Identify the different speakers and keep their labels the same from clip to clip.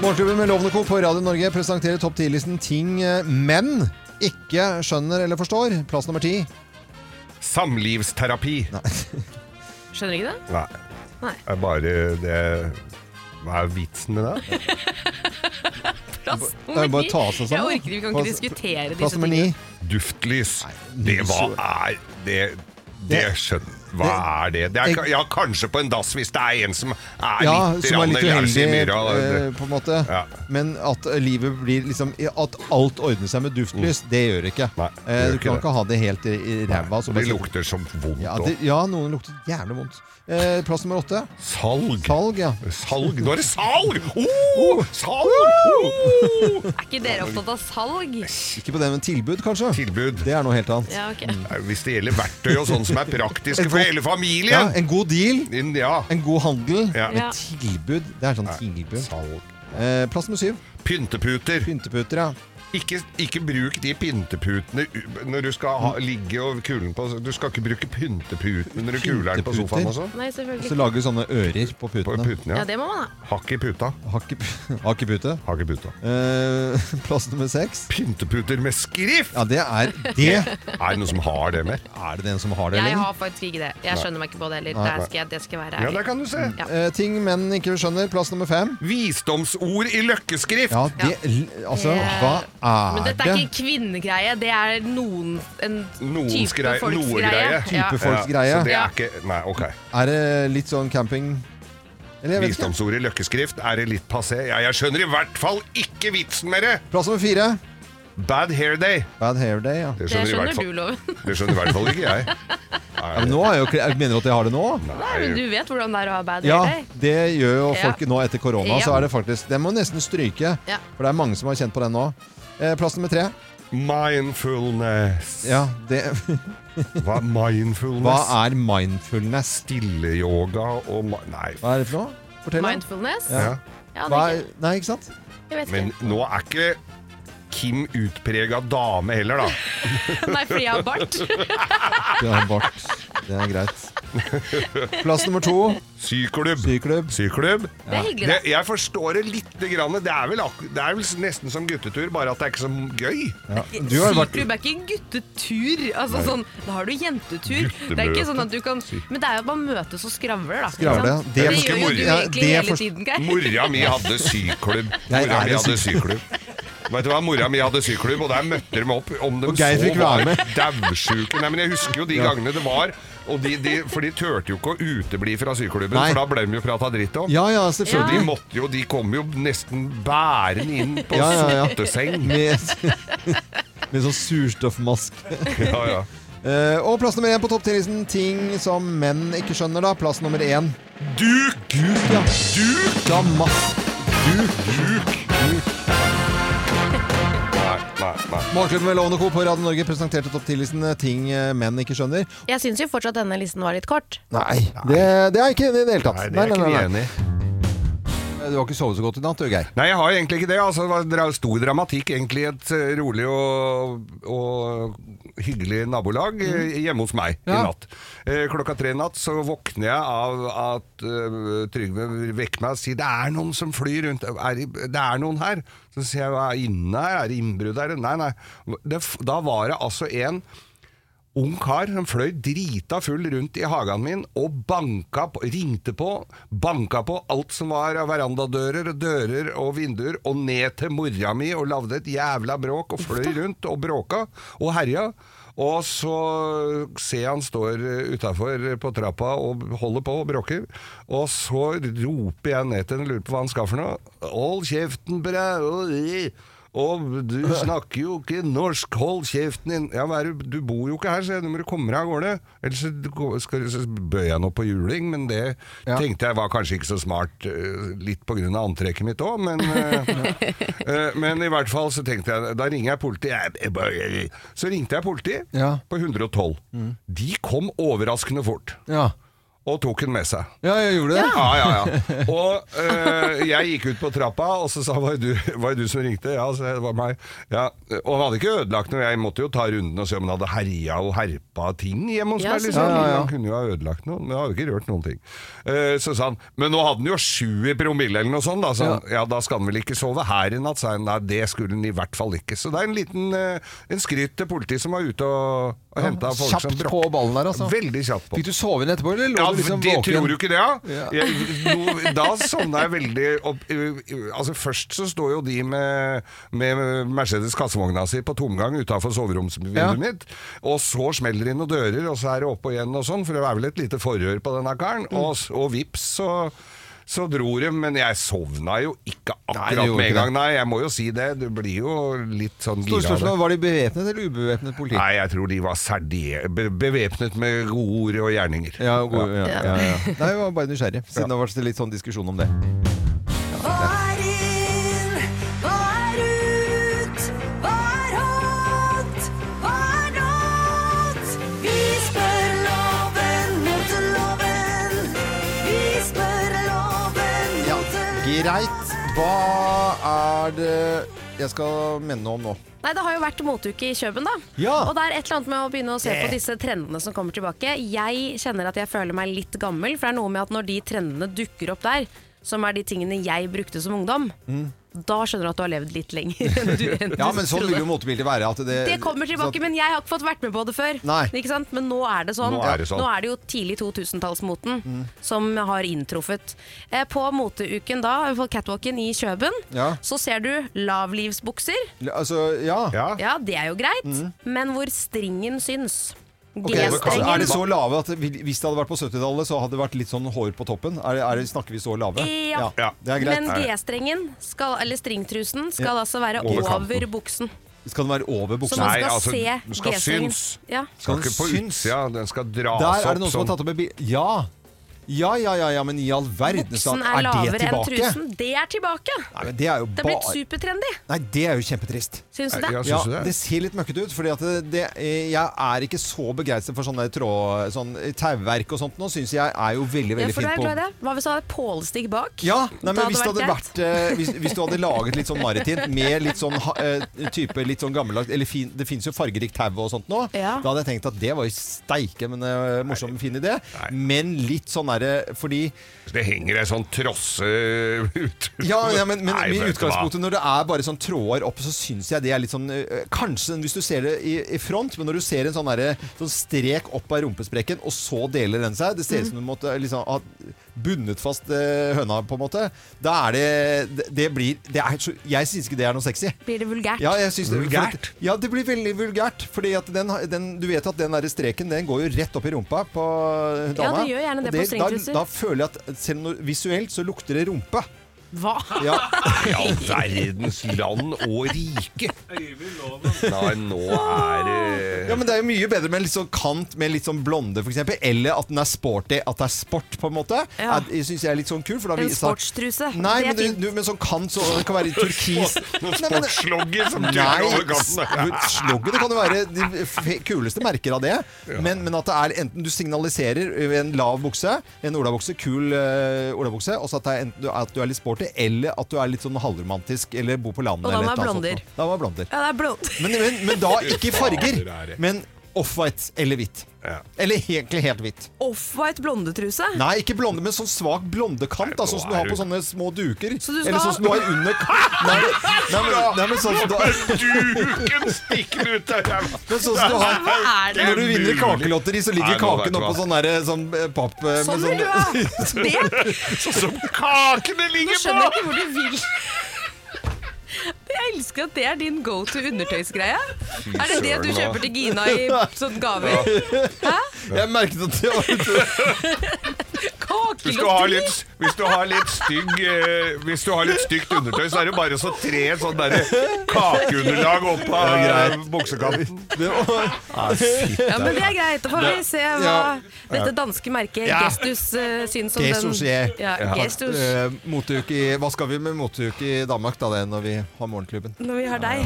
Speaker 1: Morgenklubben med Lovende Co. på Radio Norge presenterer topp 10-listen ting eh, menn ikke skjønner eller forstår. Plass nummer ti.
Speaker 2: Samlivsterapi.
Speaker 3: Skjønner ikke det?
Speaker 2: Nei.
Speaker 3: Nei.
Speaker 2: Det er bare det Hva er vitsen med det?
Speaker 1: Det
Speaker 3: Plass
Speaker 1: er jo
Speaker 3: nummer
Speaker 1: bare
Speaker 3: ni.
Speaker 1: å ta seg
Speaker 3: Jeg
Speaker 1: sammen.
Speaker 3: orker, vi kan ikke
Speaker 1: Plass-
Speaker 3: diskutere
Speaker 1: sånn, Plass
Speaker 3: disse
Speaker 1: nummer ni.
Speaker 3: tingene.
Speaker 2: Duftlys.
Speaker 1: Nei,
Speaker 2: Det hva
Speaker 1: lys-
Speaker 2: er det Det
Speaker 1: Det-
Speaker 2: skjønner Hva er det? det er, ka- ja, kanskje på en dass hvis det er en som er
Speaker 1: Ja,
Speaker 2: litt,
Speaker 1: som er litt
Speaker 2: rann-
Speaker 1: uheldig,
Speaker 2: i myra,
Speaker 1: eh,
Speaker 2: det-
Speaker 1: på en måte.
Speaker 2: Ja.
Speaker 1: Men at livet blir liksom At alt ordner seg med duftlys, det gjør det ikke.
Speaker 2: Mm. Nei, det
Speaker 1: Eh,
Speaker 2: gjør
Speaker 1: du
Speaker 2: ikke
Speaker 1: kan
Speaker 2: det.
Speaker 1: ikke ha det helt i i ræva. så
Speaker 2: det
Speaker 1: bare-
Speaker 2: lukter som vondt
Speaker 1: Ja,
Speaker 2: og
Speaker 1: det, ja, noen lukter jævlig vondt. Eh, plass nummer åtte.
Speaker 2: Salg.
Speaker 1: Salg, ja.
Speaker 2: Salg. Nå er det salg! Oh, salg! Oh!
Speaker 3: Er ikke dere opptatt av salg?
Speaker 1: Ikke på det, men tilbud, kanskje.
Speaker 2: Tilbud.
Speaker 1: Det er noe helt annet.
Speaker 3: Ja, ok.
Speaker 2: Nei, Hvis det gjelder verktøy og sånn som er praktisk for
Speaker 1: Ja,
Speaker 2: hele familien.
Speaker 1: en god deal.
Speaker 2: Inn- Ja.
Speaker 1: En god handel.
Speaker 2: Ja.
Speaker 3: Ja.
Speaker 1: Tilbud. Det er sånn tilbud.
Speaker 2: Salg.
Speaker 1: Eh, plass nummer syv.
Speaker 2: Pynteputer.
Speaker 1: Pynteputer, ja.
Speaker 2: Ikke, ikke bruk de pynteputene u- når du skal
Speaker 1: Hm?
Speaker 2: ha, ligge og kulen på Du skal ikke bruke pynteputene når du kuler den på
Speaker 1: Pynteputer?
Speaker 2: sofaen også.
Speaker 3: Nei,
Speaker 1: Så
Speaker 3: selvfølgelig.
Speaker 1: lager vi sånne ører på
Speaker 2: På
Speaker 1: putene.
Speaker 2: putene,
Speaker 3: Ja,
Speaker 2: ja.
Speaker 3: det må man ha.
Speaker 2: Hakk i puta.
Speaker 1: Hakk i pu- hakk i pute.
Speaker 2: Hakk i puta.
Speaker 1: Eh, plass nummer seks.
Speaker 2: Pynteputer med skrift!
Speaker 1: Ja, det er det.
Speaker 2: Er det noen som har det mer?
Speaker 1: Er det den som har det,
Speaker 3: Jeg
Speaker 1: eller?
Speaker 3: har faktisk ikke det. Jeg skjønner meg ikke på det heller.
Speaker 1: Nei,
Speaker 3: Det
Speaker 1: nei.
Speaker 3: skal, jeg- det skal være
Speaker 2: Ja, der
Speaker 3: ærlig.
Speaker 2: kan du se.
Speaker 3: Ja.
Speaker 1: Eh, ting menn ikke skjønner. Plass nummer fem.
Speaker 2: Visdomsord i løkkeskrift!
Speaker 1: Ja, det l- Altså,
Speaker 3: Eh,
Speaker 1: hva
Speaker 3: Men
Speaker 1: er
Speaker 3: dette er ikke en kvinnegreie, det er noen en
Speaker 2: Noens
Speaker 3: type
Speaker 2: greie-
Speaker 3: folks
Speaker 2: noe
Speaker 3: greie.
Speaker 2: greie.
Speaker 3: Ja.
Speaker 1: Type folks greie.
Speaker 2: Så det
Speaker 3: Ja.
Speaker 2: er ikke Nei, ok.
Speaker 1: Er det litt sånn camping Eller jeg vet ikke.
Speaker 2: Visdomsord i løkkeskrift, er det litt passé? Ja, jeg skjønner i hvert fall ikke vitsen med det!
Speaker 1: Plass nummer fire.
Speaker 2: Bad hair day.
Speaker 1: Bad hair day, ja.
Speaker 2: Det
Speaker 3: Det
Speaker 2: skjønner, i hvert
Speaker 3: skjønner
Speaker 2: fall,
Speaker 3: du, Loven.
Speaker 2: det skjønner i hvert fall ikke jeg.
Speaker 1: ja men nå er jo, kle- mener du at jeg har det nå?
Speaker 3: Nei, men du vet hvordan det er å ha bad
Speaker 1: Ja,
Speaker 3: hair eh? day.
Speaker 1: det gjør jo
Speaker 3: Ja.
Speaker 1: folk nå etter korona.
Speaker 3: Ja.
Speaker 1: Så er det faktisk Den må nesten stryke,
Speaker 3: Ja.
Speaker 1: for det er mange som har kjent på den nå. Eh, plass nummer tre.
Speaker 2: Mindfulness.
Speaker 1: Ja, det,
Speaker 2: Hva er mindfulness?
Speaker 1: hva er mindfulness?
Speaker 2: Stilleyoga og ma Nei.
Speaker 1: Hva er det for noe? Fortell. da.
Speaker 3: Mindfulness.
Speaker 1: Ja.
Speaker 2: Ja.
Speaker 3: Ja, det
Speaker 1: Hva
Speaker 3: er
Speaker 1: er,
Speaker 3: ikke,
Speaker 1: nei, ikke sant?
Speaker 3: jeg vet
Speaker 2: Men
Speaker 3: ikke.
Speaker 2: nå er ikke Kim utprega dame heller, da.
Speaker 3: Nei, fordi jeg har bart.
Speaker 1: Det er, bart. Det er greit. Plass nummer to.
Speaker 2: Syklubb.
Speaker 1: Syklubb.
Speaker 2: Syklubb.
Speaker 3: Det er hyggelig,
Speaker 2: Det,
Speaker 3: da.
Speaker 2: jeg forstår det lite grann. Det er, vel ak det er vel nesten som guttetur, bare at det er ikke så gøy.
Speaker 1: Ja. Du har jo vært
Speaker 3: Syklubb er ikke guttetur. Altså, sånn, da har du jentetur.
Speaker 2: Guttemøte.
Speaker 3: Det er ikke sånn at du kan Men det er jo at man møtes og skravler, da. ikke
Speaker 1: Skravle. Det
Speaker 3: sant? Det,
Speaker 1: er
Speaker 2: ganske
Speaker 3: gjør jo
Speaker 2: moro.
Speaker 3: du
Speaker 1: Ja,
Speaker 3: egentlig
Speaker 1: det er
Speaker 3: hele
Speaker 1: for-
Speaker 3: tiden, Geir.
Speaker 2: Mora mi hadde syklubb.
Speaker 1: Jeg
Speaker 2: Mora
Speaker 1: er
Speaker 2: mi
Speaker 1: i
Speaker 2: hadde syklubb. Vet du hva, Mora mi hadde syklubb, og der møtte de opp. Om de
Speaker 1: Og Geir
Speaker 2: så
Speaker 1: fikk være
Speaker 2: var
Speaker 1: med.
Speaker 2: Daudsjuke. Nei, men jeg husker jo de
Speaker 1: Ja.
Speaker 2: gangene det var. Og de, de, for de turte jo ikke å utebli fra syklubben,
Speaker 1: Nei.
Speaker 2: for da ble de jo prata dritt om.
Speaker 1: Ja ja,
Speaker 2: Så de
Speaker 1: selvfølgelig.
Speaker 2: måtte jo, de kom jo nesten bærende inn på
Speaker 1: Ja, ja, ja.
Speaker 2: sotteseng.
Speaker 1: Med, med sånn surstoffmaske.
Speaker 2: Ja, ja.
Speaker 1: Eh, og plass nummer én på topp 10-listen. Ting som menn ikke skjønner, da. Plass nummer én.
Speaker 2: Duk!
Speaker 1: Duk, ja.
Speaker 2: Duk!
Speaker 1: Damask. Duk.
Speaker 2: Duk!
Speaker 1: Duk.
Speaker 2: Nei, nei, nei.
Speaker 1: Morgenklubben med Lovende Co. på Radio Norge presenterte topp 10-listen ting eh, menn ikke skjønner.
Speaker 3: Jeg syns jo fortsatt denne listen var litt kort.
Speaker 1: Nei, det, det er jeg ikke enig i det hele tatt.
Speaker 2: Nei, det er ikke vi
Speaker 1: nei.
Speaker 2: enig i.
Speaker 1: Du har ikke sovet så godt i natt, du, Geir.
Speaker 2: Nei, jeg har egentlig ikke det. Altså, det var dra- stor dramatikk egentlig i et eh, rolig og, og hyggelig nabolag eh, hjemme hos meg i
Speaker 1: Ja.
Speaker 2: natt. Eh, Klokka tre i natt så våkner jeg av at eh, Trygve vekker meg og sier det er noen som flyr rundt, er, det- det er noen her. Så sier jeg hva er inne her, er det innbrudd her? Nei, nei. Det, f- da var det altså en ung kar som fløy drita full rundt i hagen min og banka på, ringte på, banka på alt som var av verandadører og dører og vinduer, og ned til mora mi og lagde et jævla bråk og fløy rundt og bråka og herja. Og så ser jeg han står utafor på trappa og holder på og bråker. Og så roper jeg ned til ham og lurer på hva han skal for noe. Hold kjeften på deg! og- Og du snakker jo ikke norsk, hold kjeften din! Ja, hva er det- du bor jo ikke her, så jeg, nå må du komme deg av gårde. Ellers så gå- skal, så bøyer jeg nå på juling, men det
Speaker 1: Ja.
Speaker 2: tenkte jeg var kanskje ikke så smart, eh, litt på grunn av antrekket mitt òg, men eh, Eh, Men i hvert fall så tenkte jeg Da ringer jeg politiet Jeg- jeg bare- Så ringte jeg politiet
Speaker 1: Ja. Mm.
Speaker 2: På 112 De kom overraskende fort
Speaker 1: Ja.
Speaker 2: Og tok den med seg
Speaker 1: ja, jeg gjorde det.
Speaker 2: ja, ja, ja. Og eh, jeg gikk ut på trappa, og så sa han, var det du, var det du som ringte? Ja, så det var meg. Ja. Og han hadde ikke ødelagt noe, jeg måtte jo ta runden og se om han hadde herja og herpa ting hjemme hos
Speaker 3: Ja,
Speaker 2: meg. Liksom.
Speaker 1: selvfølgelig. Ja, ja, ja.
Speaker 2: Han kunne jo ha ødelagt noe, men han hadde ikke rørt noen ting. Eh, så sa han, men nå hadde han jo sju i promille eller noe sånt, da. Så han, ja. da skal han vel ikke sove her i natt, sa han. Nei, det skulle han i hvert fall ikke. Så det er en liten eh, en skryt til politiet som var ute og, og henta folk som
Speaker 1: Kjapt på
Speaker 2: brakk.
Speaker 1: ballen der, altså.
Speaker 2: Veldig kjapt på.
Speaker 1: Fikk du sove inn etterpå, eller lå
Speaker 2: Ja,
Speaker 1: du liksom
Speaker 2: det
Speaker 1: våken?
Speaker 2: tror du ikke det, ja?
Speaker 1: Ja.
Speaker 2: Jeg, no, da sovna jeg veldig opp Altså Først så står jo de med, med Mercedes kassevogna si på tomgang utafor soveromsvinduet
Speaker 1: Ja.
Speaker 2: mitt, og så smeller det inn noen dører, og så er det opp og igjen og sånn, for det er vel et lite forhør på denne karen,
Speaker 1: Mm.
Speaker 2: og, s- og vips, så så dro de, men jeg sovna jo ikke
Speaker 1: Nei, det
Speaker 2: akkurat
Speaker 1: gjorde
Speaker 2: med
Speaker 1: ikke
Speaker 2: en gang. Nei, jeg må jo si det. Du blir jo litt sånn
Speaker 1: Store
Speaker 2: gira av det.
Speaker 1: spørsmål, Var de bevæpnet eller ubevæpnet politi?
Speaker 2: Nei, jeg tror de var særlig be- bevæpnet med gode ord og gjerninger.
Speaker 1: Ja, god, ja, ja, ja. Nei, jeg var bare nysgjerrig, siden det har vært litt sånn diskusjon om det.
Speaker 4: Hva er inn? Hva er ut? Hva er hot? Hva er not? Vi spør loven mot loven. Vi spør loven
Speaker 1: Ja,
Speaker 4: mot loven.
Speaker 1: greit. Hva er det jeg skal menne om nå?
Speaker 5: Nei, Det har jo vært moteuke i Kjøben, da.
Speaker 1: Ja.
Speaker 5: Og det er et eller annet med å begynne å se på disse trendene som kommer tilbake. Jeg kjenner at jeg føler meg litt gammel, for det er noe med at når de trendene dukker opp der, som er de tingene jeg brukte som ungdom, da skjønner du at du har levd litt lenger enn du, enn du
Speaker 1: Mm. Ja, men sånn
Speaker 5: trodde.
Speaker 1: vil jo motebildet være. At det,
Speaker 5: Det kommer tilbake,
Speaker 1: så at-
Speaker 5: men jeg har ikke fått vært med på det før.
Speaker 1: Nei.
Speaker 5: Ikke sant? Men nå er det sånn.
Speaker 2: Nå er det sånn.
Speaker 5: jo tidlig 2000-tallsmoten
Speaker 1: Mm.
Speaker 5: som har inntruffet. Eh, på moteuken da, på catwalken i Kjøben,
Speaker 1: Ja.
Speaker 5: så ser du lavlivsbukser.
Speaker 1: Altså, ja.
Speaker 2: Ja.
Speaker 5: Ja, det er jo greit, men hvor stringen syns.
Speaker 1: Ok, altså,
Speaker 5: G-strengen.
Speaker 1: er det så lave at vi- hvis det hadde vært på 70-tallet, så hadde det vært litt sånn hår på toppen? Er det, er det, snakker vi så lave?
Speaker 5: Ja.
Speaker 1: Det er greit.
Speaker 5: Men G-strengen, skal, eller stringtrusen, skal
Speaker 1: Ja.
Speaker 5: altså være
Speaker 2: Over
Speaker 5: over,
Speaker 2: kanten.
Speaker 5: buksen.
Speaker 1: Skal den være over
Speaker 5: Så
Speaker 1: buksa?
Speaker 5: man
Speaker 2: Nei,
Speaker 5: skal
Speaker 2: altså, den
Speaker 5: se
Speaker 2: skal
Speaker 5: G-strengen.
Speaker 2: syns.
Speaker 5: Ja.
Speaker 2: Skal
Speaker 1: Den
Speaker 2: ikke på
Speaker 1: syns.
Speaker 2: utsida, den skal dras
Speaker 1: Der er
Speaker 2: opp
Speaker 1: det noen som har tatt opp en bil. Ja! Ja, ja, ja, ja, men i all verdens
Speaker 5: Buksen
Speaker 1: land,
Speaker 5: er
Speaker 1: er det
Speaker 5: lavere enn
Speaker 1: tilbake?
Speaker 5: trusen. Det er tilbake!
Speaker 1: Nei, men det er jo
Speaker 5: Det er blitt
Speaker 1: bare
Speaker 5: supertrendy,
Speaker 1: Nei, det er jo kjempetrist.
Speaker 5: syns
Speaker 2: Nei,
Speaker 5: du det?
Speaker 2: ja,
Speaker 1: Ja,
Speaker 2: Syns du det?
Speaker 1: det ser litt møkkete ut, fordi at det, det, jeg er ikke så begeistret for sånne tråd, sånn tauverk og sånt nå. Syns jeg er jo veldig,
Speaker 5: Ja,
Speaker 1: veldig
Speaker 5: for du
Speaker 1: fint
Speaker 5: er
Speaker 1: på
Speaker 5: glad i det. Hva hvis du hadde pålestig bak?
Speaker 1: Ja, nei, men
Speaker 5: Da hadde
Speaker 1: hvis, det hadde
Speaker 5: det vært
Speaker 1: vært, eh, hvis, hvis du hadde laget litt sånn maritimt med litt sånn ha- eh, type litt sånn gammeldags Eller fin, det fins jo fargerikt tau og sånt nå.
Speaker 5: Ja.
Speaker 1: Da hadde jeg tenkt at det var jo steike men eh, morsom, fin idé.
Speaker 2: Nei.
Speaker 1: Men litt sånn derre fordi
Speaker 2: Det henger ei sånn trosse ut
Speaker 1: Ja, ja men, men
Speaker 2: Nei,
Speaker 1: i
Speaker 2: vet du hva?
Speaker 1: utgangspunktet når det er bare sånn tråder opp, så syns jeg det er litt sånn eh, Kanskje hvis du ser det i, i front, men når du ser en sånn, derre- sånn strek opp av rumpesprekken, og så deler den seg Det ser
Speaker 2: Mhm.
Speaker 1: ut som du måtte liksom ha bundet fast eh, høna, på en måte. Da er det Det, det blir det er, så, Jeg syns ikke det er noe sexy.
Speaker 5: Blir det vulgært?
Speaker 1: Ja, jeg syns det,
Speaker 2: Vulgært?
Speaker 1: ja, det blir veldig vulgært. Fordi at den, den, du vet at den der streken den går jo rett opp i rumpa på eh, dama.
Speaker 5: Ja, det gjør gjerne det
Speaker 1: Og
Speaker 5: på stringtruser.
Speaker 1: Da, da føler jeg at selv om visuelt så lukter det rumpe.
Speaker 5: Hva?
Speaker 1: Ja.
Speaker 2: I all verdens land og rike. Nei, nå er det
Speaker 1: Ja, men Det er jo mye bedre med en litt sånn kant med litt sånn blonde, for eksempel Eller at den er sporty. At det er sport, på en måte.
Speaker 5: Ja.
Speaker 1: Er- Det syns jeg er litt sånn kul. For da
Speaker 5: En
Speaker 1: viser-
Speaker 5: sportstruse.
Speaker 1: Nei,
Speaker 5: det
Speaker 1: men,
Speaker 5: er
Speaker 1: du,
Speaker 5: fint.
Speaker 1: du, men sånn kant så det kan være i turkis
Speaker 2: Noen
Speaker 1: Nei, men-
Speaker 2: sportslogger som
Speaker 1: Nei,
Speaker 2: tuller over kanten.
Speaker 1: slogget det kan jo være de fe- kuleste merker av det. Men, men at det er enten du signaliserer ved en lav bukse, en olabukse, kul uh, olabukse, og så at, det er enten du, at du er litt sporty, eller at du er litt sånn halvromantisk eller bor på landet.
Speaker 5: Og da må
Speaker 1: eller
Speaker 5: jeg
Speaker 1: et eller annet
Speaker 5: blonder.
Speaker 1: sånt noe. Da må jeg blonder.
Speaker 5: Ja, det er blod.
Speaker 1: Men, men, men da ikke i farger,
Speaker 2: Fader, er det.
Speaker 1: men off-white eller hvitt.
Speaker 2: Ja.
Speaker 1: Eller egentlig helt hvitt.
Speaker 5: Off-white blondetruse.
Speaker 1: Nei, ikke blonde, men sånn svak blondekant, da, sånn som du har på sånne små duker.
Speaker 5: Så du skal
Speaker 1: Eller sånn som du har under Nei, nei, men, nei, men sånn som du har
Speaker 2: Duken stikker ut der!
Speaker 1: Men sånn som du har
Speaker 5: Hva er det?
Speaker 1: Når du vinner kakelotteri, så ligger
Speaker 2: Nei, nå
Speaker 1: kaken
Speaker 2: vet du
Speaker 1: oppå
Speaker 2: hva.
Speaker 1: sånn derre sånn eh, papp eh, med
Speaker 5: Sånn vil du ha det!
Speaker 2: sånn Som kakene
Speaker 5: Nå
Speaker 2: ligger
Speaker 5: skjønner jeg ikke hvor du vil. Jeg
Speaker 3: elsker at det er din go to undertøysgreie. Er det det
Speaker 2: søren,
Speaker 3: du
Speaker 2: da.
Speaker 3: kjøper til Gina i sånn gaver?
Speaker 1: Jeg merket at det var
Speaker 2: Hvis du har
Speaker 3: Kakelotteri?
Speaker 2: litt, hvis du har litt, stygg, eh, hvis du har litt stygt undertøy, så er det bare så tre sånn derre kakeunderlag opp av eh, buksekanten.
Speaker 1: det var,
Speaker 5: Ja, men det er greit. Da får vi se hva
Speaker 1: Ja.
Speaker 5: dette danske merket
Speaker 1: Ja.
Speaker 5: Gestus eh, syns om
Speaker 1: Gestus,
Speaker 5: den.
Speaker 1: jeg.
Speaker 5: Ja, Gestus.
Speaker 1: Eh, moteuke i, hva skal vi med moteuke i Danmark da, det, når vi har morgenklubben?
Speaker 5: Når vi har deg.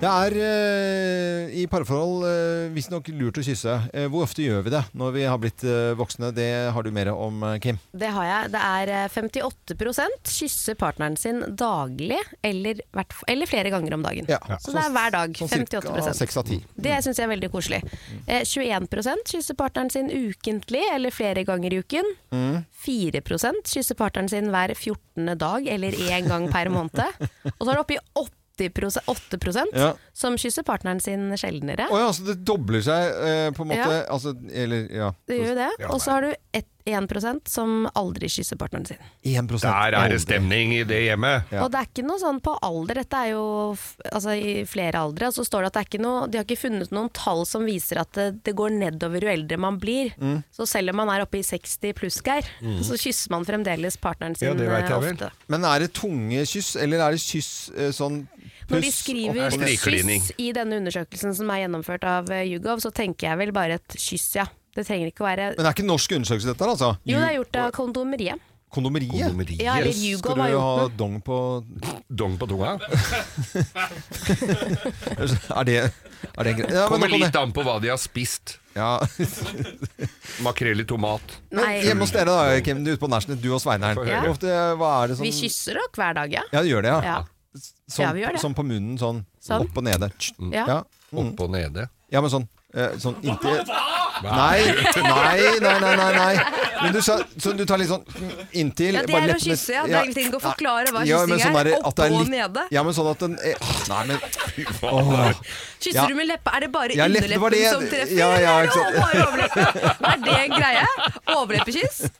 Speaker 1: Det er eh, i parforhold eh, visstnok lurt å kysse. Eh, hvor ofte gjør vi det når vi har blitt eh, voksne? Det har du mer om, eh, Kim.
Speaker 5: Det har jeg. Det er eh, 58 kysser partneren sin daglig eller, hvert, eller flere ganger om dagen.
Speaker 1: Ja.
Speaker 5: Så det er hver dag.
Speaker 1: Sånn
Speaker 5: 58
Speaker 1: ca. 6 av 10.
Speaker 5: Det syns jeg er veldig koselig. Eh, 21 kysser partneren sin ukentlig eller flere ganger i uken.
Speaker 1: Mm.
Speaker 5: 4 kysser partneren sin hver 14. dag eller én gang per måned. Og så er det oppi 80 8
Speaker 1: Ja.
Speaker 5: som kysser partneren sin sjeldnere.
Speaker 1: Å ja, så det dobler seg eh, på en måte.
Speaker 5: Ja.
Speaker 1: Altså, eller ja.
Speaker 5: Det gjør jo det.
Speaker 2: Ja,
Speaker 5: Og så har du et, 1 som aldri kysser partneren sin.
Speaker 1: 1
Speaker 2: Der er det stemning i det hjemmet.
Speaker 1: Ja.
Speaker 5: Og det er ikke noe sånn på alder, dette er jo f- altså, i flere aldre. Og så står det at det er ikke noe, de har ikke funnet noen tall som viser at det, det går nedover jo eldre man blir.
Speaker 1: Mm.
Speaker 5: Så selv om man er oppe i 60 pluss, Geir, så kysser man fremdeles partneren sin
Speaker 2: Ja, det vet
Speaker 5: eh,
Speaker 2: jeg vel.
Speaker 5: ofte.
Speaker 1: Men er det tunge kyss, eller er det kyss eh, sånn
Speaker 5: Når de
Speaker 1: puss
Speaker 5: skriver
Speaker 1: opp og ned?
Speaker 2: Sniklining.
Speaker 5: kyss i denne undersøkelsen som er gjennomført av eh, Yougov, så tenker jeg vel bare et kyss, ja. Det trenger ikke å være
Speaker 1: Men det er ikke norsk undersøkelse dette her, altså?
Speaker 5: Jo, det er gjort av kondomeriet.
Speaker 1: Kondomeriet?
Speaker 5: Ja, eller
Speaker 2: Kondomeriet.
Speaker 5: Yougov
Speaker 1: Skal
Speaker 5: har
Speaker 1: du ha
Speaker 5: gjort den.
Speaker 1: dong på
Speaker 2: Dong på tunga.
Speaker 1: Er det, er det en greie? Ja, men
Speaker 2: Kommer
Speaker 1: nå kan
Speaker 2: litt
Speaker 1: det-
Speaker 2: an på hva de har spist.
Speaker 1: ja.
Speaker 2: Makrell i tomat.
Speaker 1: Men
Speaker 5: Nei.
Speaker 1: hjemme hos dere, da, Kim, ute på Nachnet, du og Sveineren.
Speaker 2: Få
Speaker 5: høre.
Speaker 1: Hvor Ofte, eh, hva er det som
Speaker 5: Vi kysser nok hver dag, ja.
Speaker 1: Ja, det gjør det, ja.
Speaker 5: ja.
Speaker 1: Sånn,
Speaker 5: vi gjør det.
Speaker 1: sånn på munnen, sånn,
Speaker 5: Sånn.
Speaker 1: opp og nede.
Speaker 5: Ja.
Speaker 1: Ja. Mm.
Speaker 2: Oppe og nede.
Speaker 1: ja, men sånn eh, Sånn inntil Nei, nei, nei, nei. nei, nei. Men du, sa, så du tar litt sånn inntil
Speaker 3: Ja, det
Speaker 1: bare
Speaker 3: er å
Speaker 1: leppene-
Speaker 3: kysse, ja. Det er egentlig ikke å forklare hva
Speaker 1: Ja, men
Speaker 3: kyssing
Speaker 1: sånn
Speaker 3: er.
Speaker 1: at det
Speaker 3: Oppe og
Speaker 1: litt-
Speaker 3: nede.
Speaker 1: Ja, men sånn at den eh, Nei, men
Speaker 3: Kysser
Speaker 1: Ja.
Speaker 3: du med leppa? Er det bare
Speaker 1: Ja, leppe var
Speaker 3: underleppen
Speaker 1: det-
Speaker 3: som treffer?
Speaker 1: ja, ja,
Speaker 3: eller
Speaker 1: ikke sant.
Speaker 3: er det bare overleppen? Er det en greie? Overleppekyss?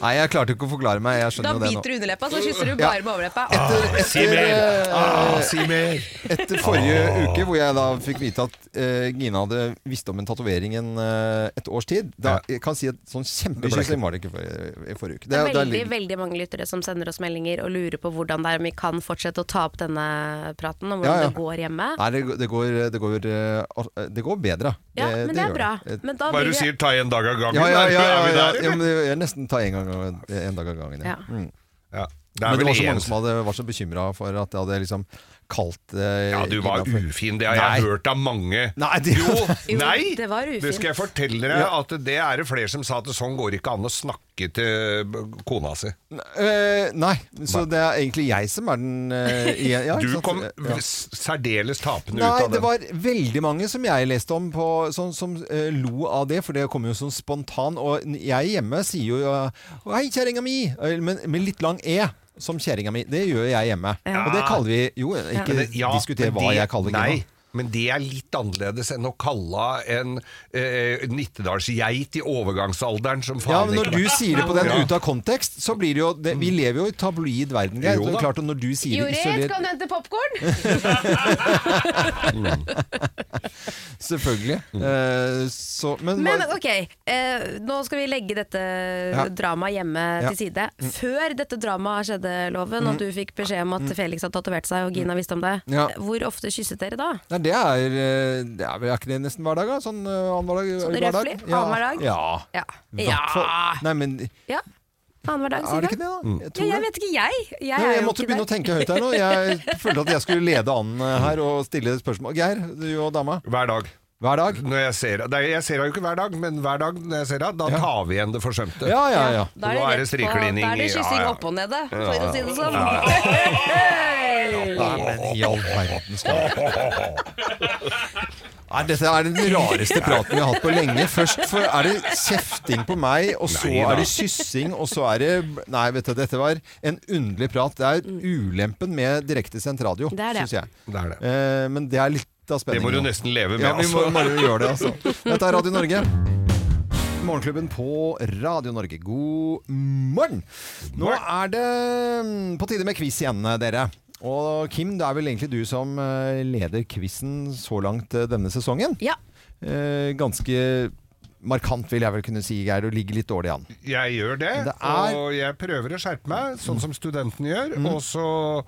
Speaker 1: Nei, jeg klarte ikke å forklare meg. Jeg
Speaker 3: Da
Speaker 1: skjønner jo det nå.
Speaker 3: biter du underleppa, så kysser du
Speaker 1: Ja.
Speaker 3: bare med overleppa.
Speaker 1: Etter,
Speaker 2: Si
Speaker 1: etter,
Speaker 2: mer!
Speaker 1: eh,
Speaker 2: Ah, si mer!
Speaker 1: Etter forrige uke, hvor jeg da fikk vite at eh, Gina hadde visst om en tatovering en, eh, et års tid da, Jeg kan si at sånn kjempekyssing var det ikke for, eh, i forrige uke.
Speaker 5: Det er
Speaker 1: det er
Speaker 5: veldig,
Speaker 1: litt-
Speaker 5: veldig mange lyttere som sender oss meldinger og lurer på hvordan det er om vi kan fortsette å ta opp denne praten om hvordan
Speaker 1: Ja, ja.
Speaker 5: det går hjemme.
Speaker 1: Nei, det, går- det, går, det, går, eh, al- det går bedre.
Speaker 5: Ja, men det
Speaker 1: gjør
Speaker 5: er bra.
Speaker 1: det.
Speaker 5: Men da
Speaker 2: Hva
Speaker 5: blir
Speaker 2: du
Speaker 5: det
Speaker 2: sier, ta en dag av gangen.
Speaker 1: Ja, ja,
Speaker 2: er-
Speaker 1: ja, ja,
Speaker 2: er vi
Speaker 1: ja,
Speaker 2: der?
Speaker 1: ja, men det- jeg nesten tar en, gang, av- en dag av gangen.
Speaker 5: Ja.
Speaker 1: Mm.
Speaker 2: Ja. Det
Speaker 1: Men
Speaker 2: er
Speaker 1: det
Speaker 2: vel
Speaker 1: var så mange
Speaker 2: en
Speaker 1: som hadde, var så bekymra for at jeg hadde liksom kalt eh,
Speaker 2: Ja, du
Speaker 1: Gina
Speaker 2: var
Speaker 1: for-
Speaker 2: ufin. Det har jeg
Speaker 1: Nei.
Speaker 2: hørt av mange.
Speaker 1: Nei, det,
Speaker 2: Jo,
Speaker 5: Jo,
Speaker 2: nei!
Speaker 5: det var ufint.
Speaker 2: Det skal jeg fortelle dere, at det er det flere som sa at sånn går ikke an å snakke til b- kona si.
Speaker 1: Eh, nei, så det er egentlig jeg som er den eh, igjen. Ja,
Speaker 2: Du
Speaker 1: ikke sant?
Speaker 2: kom
Speaker 1: Ja.
Speaker 2: s- særdeles tapende
Speaker 1: Nei,
Speaker 2: ut av
Speaker 1: det
Speaker 2: det.
Speaker 1: var veldig mange som jeg leste om på, som, som eh, lo av det, for det kom jo sånn spontan. Og n- jeg hjemme sier jo eh, 'hei, kjerringa mi', eh, men med litt lang e. Som kjerringa mi. Det gjør jeg hjemme. Og det kaller vi Jo, ikke
Speaker 2: Men det- ja,
Speaker 1: diskuter
Speaker 2: men
Speaker 1: hva
Speaker 2: det-
Speaker 1: jeg kaller
Speaker 2: Nei,
Speaker 1: henne.
Speaker 2: men det er litt annerledes enn å kalle en eh, nittedalsgeit i overgangsalderen som faen
Speaker 1: Ja, men Når
Speaker 2: ikke
Speaker 1: du sier det på den
Speaker 2: Ja. Mm.
Speaker 1: ute av kontekst, så blir det jo det, Vi lever jo i tabloid verden, Geir.
Speaker 2: Jo
Speaker 1: Så det er
Speaker 2: da.
Speaker 1: klart at Når du sier det
Speaker 5: Jorid,
Speaker 1: isolert
Speaker 5: kan du hente popkorn?
Speaker 1: Selvfølgelig.
Speaker 2: Mm.
Speaker 1: Eh, så Men,
Speaker 5: Men
Speaker 1: hva-
Speaker 5: ok, eh, nå skal vi legge dette dramaet hjemme
Speaker 1: Ja. Mm.
Speaker 5: til side. Før dette dramaet skjedde, Loven, og du fikk beskjed om at Felix hadde tatovert seg og Gina visste om det,
Speaker 1: Mm. Ja.
Speaker 5: hvor ofte kysset dere da?
Speaker 1: Nei, det er, eh, det er vel er ikke det nesten hver dag, da? Sånn eh, annenhver dag?
Speaker 5: Så det
Speaker 1: hver
Speaker 5: er røffelig?
Speaker 1: Ja.
Speaker 5: Annenhver dag?
Speaker 1: Ja.
Speaker 5: Ja.
Speaker 1: Hvertfall- Nei, men
Speaker 5: ja. Annenhver dag,
Speaker 1: er
Speaker 5: sier
Speaker 1: det
Speaker 5: du?
Speaker 1: ikke det, da? Jeg
Speaker 5: Ja,
Speaker 1: tror
Speaker 5: jeg
Speaker 1: det.
Speaker 5: vet ikke, jeg. Jeg,
Speaker 1: Nei,
Speaker 5: er
Speaker 1: jeg
Speaker 5: jo
Speaker 1: måtte
Speaker 5: ikke
Speaker 1: begynne å
Speaker 5: der.
Speaker 1: tenke høyt her nå. Jeg følte at jeg skulle lede an eh, her og stille spørsmål. Geir, du og dama.
Speaker 2: Hver dag.
Speaker 1: Hver dag?
Speaker 2: Når jeg ser det Jeg ser henne jo ikke hver dag, men hver dag når jeg ser henne, da tar vi igjen det forsømte.
Speaker 1: Ja, ja, ja.
Speaker 5: Da
Speaker 2: Nå er det
Speaker 5: er det, rett på,
Speaker 2: striklining
Speaker 5: da er det
Speaker 2: i- ja,
Speaker 5: kyssing
Speaker 2: ja.
Speaker 5: opp og nede, for å si det sånn.
Speaker 1: Nei, men i all verdens land. Nei, dette er den rareste praten vi har hatt på lenge. Først for, er det kjefting på meg, og så
Speaker 2: Nei da.
Speaker 1: er det kyssing, og så er det Nei, vet du, dette var en underlig prat. Det er ulempen med direktesendt radio,
Speaker 5: Det er det.
Speaker 1: syns jeg.
Speaker 2: Det er det.
Speaker 1: Eh, men det er litt av
Speaker 2: Det
Speaker 1: spenningen.
Speaker 2: må du nesten leve med,
Speaker 1: Ja, vi må
Speaker 2: altså.
Speaker 1: bare gjøre det, altså. Dette er Radio Norge. Morgenklubben på Radio Norge, god morgen! Nå er det mm, på tide med quiz igjen, dere. Og Kim, det er vel egentlig du som eh, leder quizen så langt eh, denne sesongen.
Speaker 5: Ja.
Speaker 1: Eh, Ganske markant, vil jeg vel kunne si, Geir. Du ligger litt dårlig an.
Speaker 2: Jeg gjør det,
Speaker 1: Det er- Mm.
Speaker 2: og jeg prøver å skjerpe meg, sånn som studentene gjør. Og så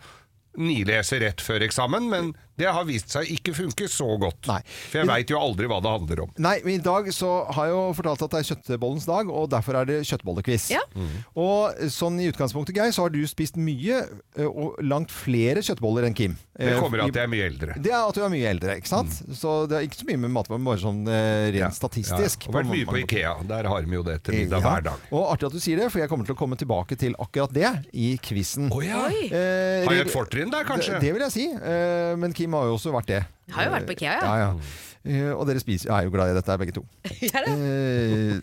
Speaker 2: nilese rett før eksamen, men det har vist seg ikke funke så godt.
Speaker 1: Nei.
Speaker 2: For jeg veit jo aldri hva det handler om.
Speaker 1: Nei, men i dag så har jeg jo fortalt at det er kjøttbollens dag, og derfor er det kjøttbollequiz.
Speaker 5: Ja.
Speaker 2: Mm.
Speaker 1: Og sånn i utgangspunktet, Geir, så har du spist mye, eh, og langt flere kjøttboller enn Kim.
Speaker 2: Det
Speaker 1: Eh,
Speaker 2: kommer
Speaker 1: i-
Speaker 2: av at jeg er mye eldre.
Speaker 1: Det er at du er mye eldre, ikke sant? Så det er ikke så mye med matvarer, bare sånn eh, rent
Speaker 2: Ja.
Speaker 1: statistisk.
Speaker 2: Ja, Og vært mye på Ikea. Der har de jo det til
Speaker 1: Ja.
Speaker 2: middag hver dag.
Speaker 1: Og artig at du sier det, for jeg kommer til å komme tilbake til akkurat det i quizen.
Speaker 2: Å ja.
Speaker 1: Eh,
Speaker 2: Har jeg et fortrinn der,
Speaker 1: Det,
Speaker 2: kanskje?
Speaker 1: det vil jeg si, eh, men Kim har jo også vært det.
Speaker 5: Jeg har jo vært på Ikea, ja.
Speaker 1: Ja, ja. Eh, og dere spiser, jeg er jo glad i dette, begge to. Eh,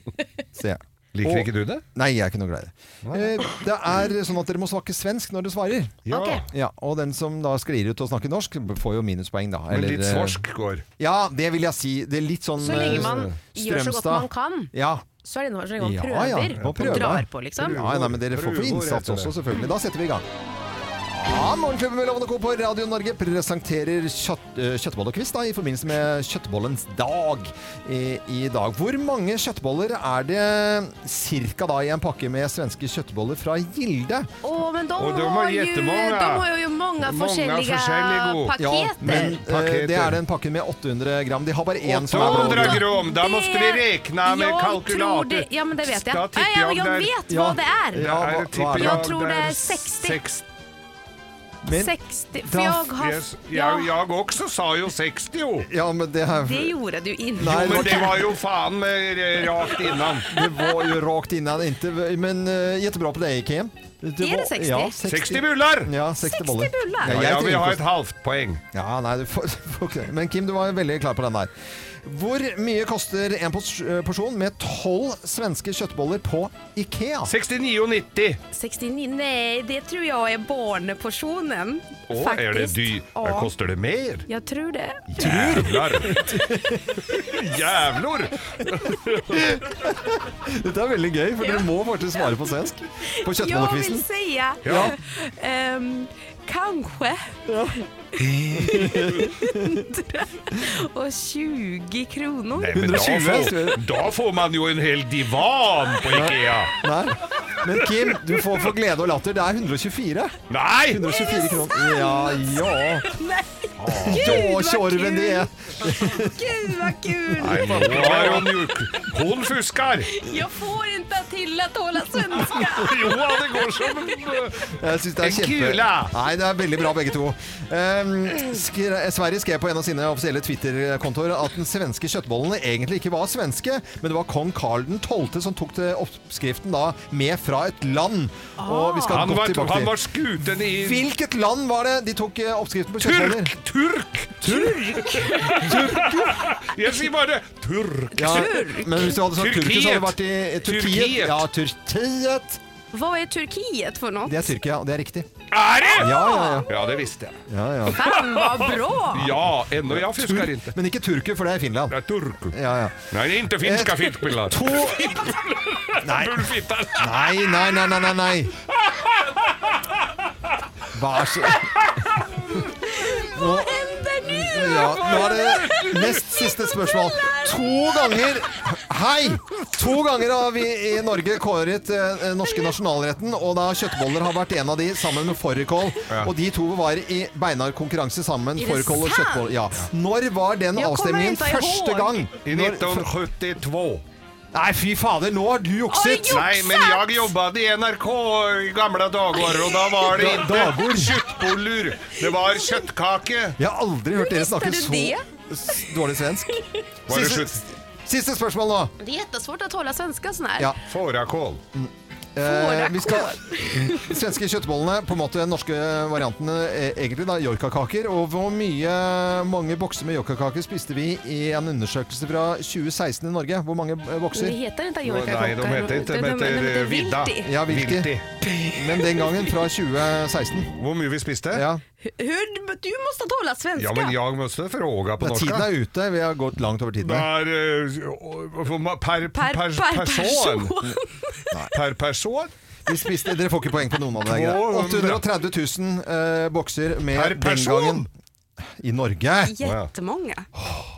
Speaker 1: ser jeg.
Speaker 2: Liker
Speaker 1: Og-
Speaker 2: ikke du det?
Speaker 1: Nei, jeg er ikke noe glad i det. Eh, det er sånn at dere må snakke svensk når dere svarer.
Speaker 2: Ja.
Speaker 5: Ok.
Speaker 1: Ja, og den som da sklir ut til å snakke norsk, får jo minuspoeng, da.
Speaker 2: Men
Speaker 1: eller,
Speaker 2: litt
Speaker 1: eh,
Speaker 2: svorsk går.
Speaker 1: Ja, det vil jeg si. Det er litt sånn
Speaker 5: Så lenge
Speaker 1: eh,
Speaker 5: man gjør så godt
Speaker 1: Strømstad.
Speaker 5: man kan,
Speaker 1: Ja.
Speaker 5: så er det innhold så lenge man
Speaker 1: Ja,
Speaker 5: prøver.
Speaker 1: ja, må prøve.
Speaker 5: Og drar på, liksom.
Speaker 1: Ja, nei, men dere får få
Speaker 2: Prøvor
Speaker 1: innsats
Speaker 2: heter det.
Speaker 1: også, selvfølgelig. Da setter vi i gang. Ja, Morgenklubben med Lovende Co. på Radio Norge presenterer kjøtt, eh, kjøttbollekvist da, i forbindelse med kjøttbollens dag i, i dag. Hvor mange kjøttboller er det cirka da i en pakke med svenske kjøttboller fra Gilde?
Speaker 5: Å, men de,
Speaker 2: Og de har
Speaker 5: har jo,
Speaker 2: jättemånga.
Speaker 5: de har jo mange
Speaker 2: Många
Speaker 5: forskjellige
Speaker 2: forskjellige god.
Speaker 5: paketer.
Speaker 1: men eh,
Speaker 2: Paketer.
Speaker 1: det er den pakken med 800 gram. De har bare én som er blå.
Speaker 2: 800 gram, da måste vi räkna med
Speaker 5: Jeg
Speaker 2: kalkulator.
Speaker 5: tror Det, ja, men det vet jeg.
Speaker 2: Da
Speaker 5: Nei,
Speaker 2: tipper
Speaker 5: ja,
Speaker 2: jeg
Speaker 5: men jeg
Speaker 2: det er-
Speaker 5: vet
Speaker 1: Ja.
Speaker 5: hva det er.
Speaker 1: Ja, hva- hva er det?
Speaker 5: Jeg tror det er 60.
Speaker 1: Men,
Speaker 5: 60 For
Speaker 1: Da-
Speaker 5: jeg har
Speaker 2: Yes,
Speaker 5: ja,
Speaker 2: jeg, jeg også sa jo 60 jo.
Speaker 1: ja, men det er
Speaker 3: Det gjorde du ikke.
Speaker 1: Nei,
Speaker 2: Men det var jo faen meg eh, rakt innan.
Speaker 1: Det var ju rakt innan inte, men uh, jättebra på dig Kim.
Speaker 5: Är det 60?
Speaker 1: Ja, 60,
Speaker 2: 60 bullar!
Speaker 1: Ja, 60,
Speaker 5: 60
Speaker 1: boller.
Speaker 5: bullar.
Speaker 1: Ja,
Speaker 2: Ja,
Speaker 1: jeg
Speaker 2: jeg vil
Speaker 1: tenker
Speaker 2: ha
Speaker 1: på-
Speaker 2: et halvt poeng.
Speaker 1: Ja, nei, du får, får ikke det. Men Kim, du var veldig klar på den der. Hvor mye koster en pos- porsjon med 12 svenske kjøttboller på Ikea?
Speaker 2: 69,90.
Speaker 5: 69 Nei, det tror jeg er barneporsjonen.
Speaker 2: Å, er det
Speaker 5: Faktisk.
Speaker 2: dyr?
Speaker 5: Ja,
Speaker 2: Koster det mer?
Speaker 5: Jeg tror det.
Speaker 2: Jævlar! Jævlor!
Speaker 1: Dette er veldig gøy, for dere må faktisk svare på svensk på
Speaker 5: Jeg vil
Speaker 1: kjøttbollequizen.
Speaker 5: si
Speaker 2: Ja.
Speaker 5: ehm, kanskje 120 kroner.
Speaker 2: Nei, men da
Speaker 1: 120,
Speaker 2: får,
Speaker 1: sier
Speaker 2: da får man jo en hel divan på Ikea.
Speaker 1: Nei. Men Kim, du får for glede og latter. Det er 124.
Speaker 2: Nei!
Speaker 1: 124 kroner. Ja, ja.
Speaker 5: Nei,
Speaker 1: Ja,
Speaker 5: vad
Speaker 1: Tjorven, det er
Speaker 5: gud vad kul!
Speaker 2: Nei, nå har hun jo Hun fusker!
Speaker 5: Jag får inte till att hålla svenska.
Speaker 2: Jo, det går som
Speaker 1: Jeg synes det er
Speaker 2: En
Speaker 1: kjempe...
Speaker 2: kula!
Speaker 1: Nei, det er veldig bra begge to. Ehm, skre, Sverige skrev på en av sine offisielle Twitter-kontoer at den svenske kjøttbollene egentlig ikke var svenske, men det var kong Karl 12. som tok til oppskriften da med fra et land. Og vi skal
Speaker 2: Ah. Han
Speaker 1: godt
Speaker 2: var,
Speaker 1: tilbake
Speaker 2: han var
Speaker 1: til
Speaker 2: skuten i
Speaker 1: Hvilket land var det de tok eh, oppskriften på kjøttboller?
Speaker 2: Turk! Turk! Turk! Jeg sier bare turk.
Speaker 1: Ja, men hvis du hadde sagt Turkiet, så hadde det vært i eh, Turkiet.
Speaker 2: Turkiet.
Speaker 1: Ja, Turkiet.
Speaker 5: Vad är Turkiet för något?
Speaker 1: Det er Tyrkia, det er riktig.
Speaker 2: Er det?!
Speaker 1: Ja, ja, ja.
Speaker 2: Ja, det visste jeg.
Speaker 1: ja, ja.
Speaker 5: Fan vad bra!
Speaker 2: Ja, ennå jeg fusker ikke.
Speaker 1: Men ikke turker, for det er Finland.
Speaker 2: Det er turk.
Speaker 1: Ja, ja.
Speaker 2: Nei, det er ikke finska fiskpiller.
Speaker 1: To Nei.
Speaker 2: Bullfitter.
Speaker 1: Nei, nei, nei, nei, nei, nei. Vær så Hva
Speaker 5: Händer nu?
Speaker 1: ja, Nå er det nest siste spørsmål. To ganger Hei! To ganger har vi i Norge kåret eh, den norske nasjonalretten, og da kjøttboller har vært en av de, sammen med fårikål. Og de to var i beinhard konkurranse sammen.
Speaker 5: det
Speaker 1: Fårikål og
Speaker 5: sant?
Speaker 1: kjøttboller. Ja. Når var den
Speaker 5: Jeg kommer
Speaker 1: avstemningen
Speaker 5: ikke ihåg.
Speaker 1: første gang?
Speaker 2: I
Speaker 1: Når-
Speaker 2: 1972.
Speaker 1: Nei, fy fader, nå har du jukset!
Speaker 5: Oi, jo.
Speaker 2: Nei, men jeg jobbet i NRK i gamle dager, og da var det
Speaker 1: Da-
Speaker 2: ikke
Speaker 1: dagbord.
Speaker 2: kjøttboller. Det var kjøttkake.
Speaker 1: Jeg har aldri hørt dere snakke
Speaker 5: visste
Speaker 1: så
Speaker 5: du det?
Speaker 1: s- dårlig svensk.
Speaker 2: Var det
Speaker 1: Siste-
Speaker 2: slutt?
Speaker 1: Siste spørsmål nå.
Speaker 5: Det är jättesvårt att hålla svenska sån här.
Speaker 1: Ja.
Speaker 2: Fårakål.
Speaker 1: Eh, vi skal Svenske kjøttbollene, på en måte den norske variantene eh, egentlig, da. Yorkakaker. Og hvor mye, mange bokser med yorkakaker spiste vi i en undersøkelse fra 2016 i Norge? Hvor mange eh,
Speaker 5: Det
Speaker 1: bokser?
Speaker 5: heter inte
Speaker 2: Nei, de heter ikke, de heter Vidda.
Speaker 1: Ja, Vilti.
Speaker 2: Vilti.
Speaker 1: Men den gangen, fra 2016.
Speaker 2: Hvor mye vi spiste?
Speaker 1: Ja.
Speaker 5: Hur, du måste hålla svenska.
Speaker 2: Ja, men jeg måtte fråga på
Speaker 1: Men
Speaker 2: norska.
Speaker 1: tiden er ute. Vi har gått langt over tiden.
Speaker 2: Det
Speaker 1: her.
Speaker 2: er eh, hvor ma- per, per,
Speaker 5: Per-
Speaker 2: per,
Speaker 5: per
Speaker 2: person. Per person?
Speaker 1: Vi spiste, dere får ikke poeng på noen av de greiene. 830 000 eh, bokser med
Speaker 2: Per person?
Speaker 1: den gangen i Norge.
Speaker 6: Jättemånga.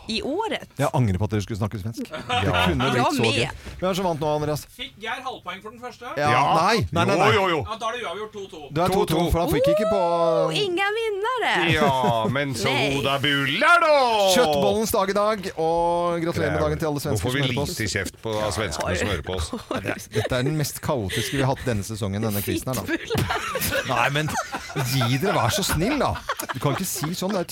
Speaker 6: I året.
Speaker 1: Jeg angrer på at dere skulle snakke svensk. Det kunne blitt så gøy. Hvem er som vant nå, Andreas?
Speaker 7: Fikk Geir halvpoeng for den første?
Speaker 1: Ja, Nei, nei, nei, nei.
Speaker 2: Jo, jo, jo.
Speaker 7: Ja, Da er det uavgjort 2-2.
Speaker 1: Du er 2-2, for han fikk ikke på
Speaker 6: Inga vinnare!
Speaker 2: Ja, men så hoda buller, da!
Speaker 1: Kjøttbollens dag i dag, og gratulerer med dagen til alle
Speaker 2: Nå
Speaker 1: svensker
Speaker 2: får
Speaker 1: som
Speaker 2: vi
Speaker 1: hører på oss.
Speaker 2: lite kjeft på av svenskene som hører på oss.
Speaker 1: Dette er den mest kaotiske vi har hatt denne sesongen, denne quizen her, da. Nei, men gi dere, vær så snill, da. Du kan ikke si sånn, det er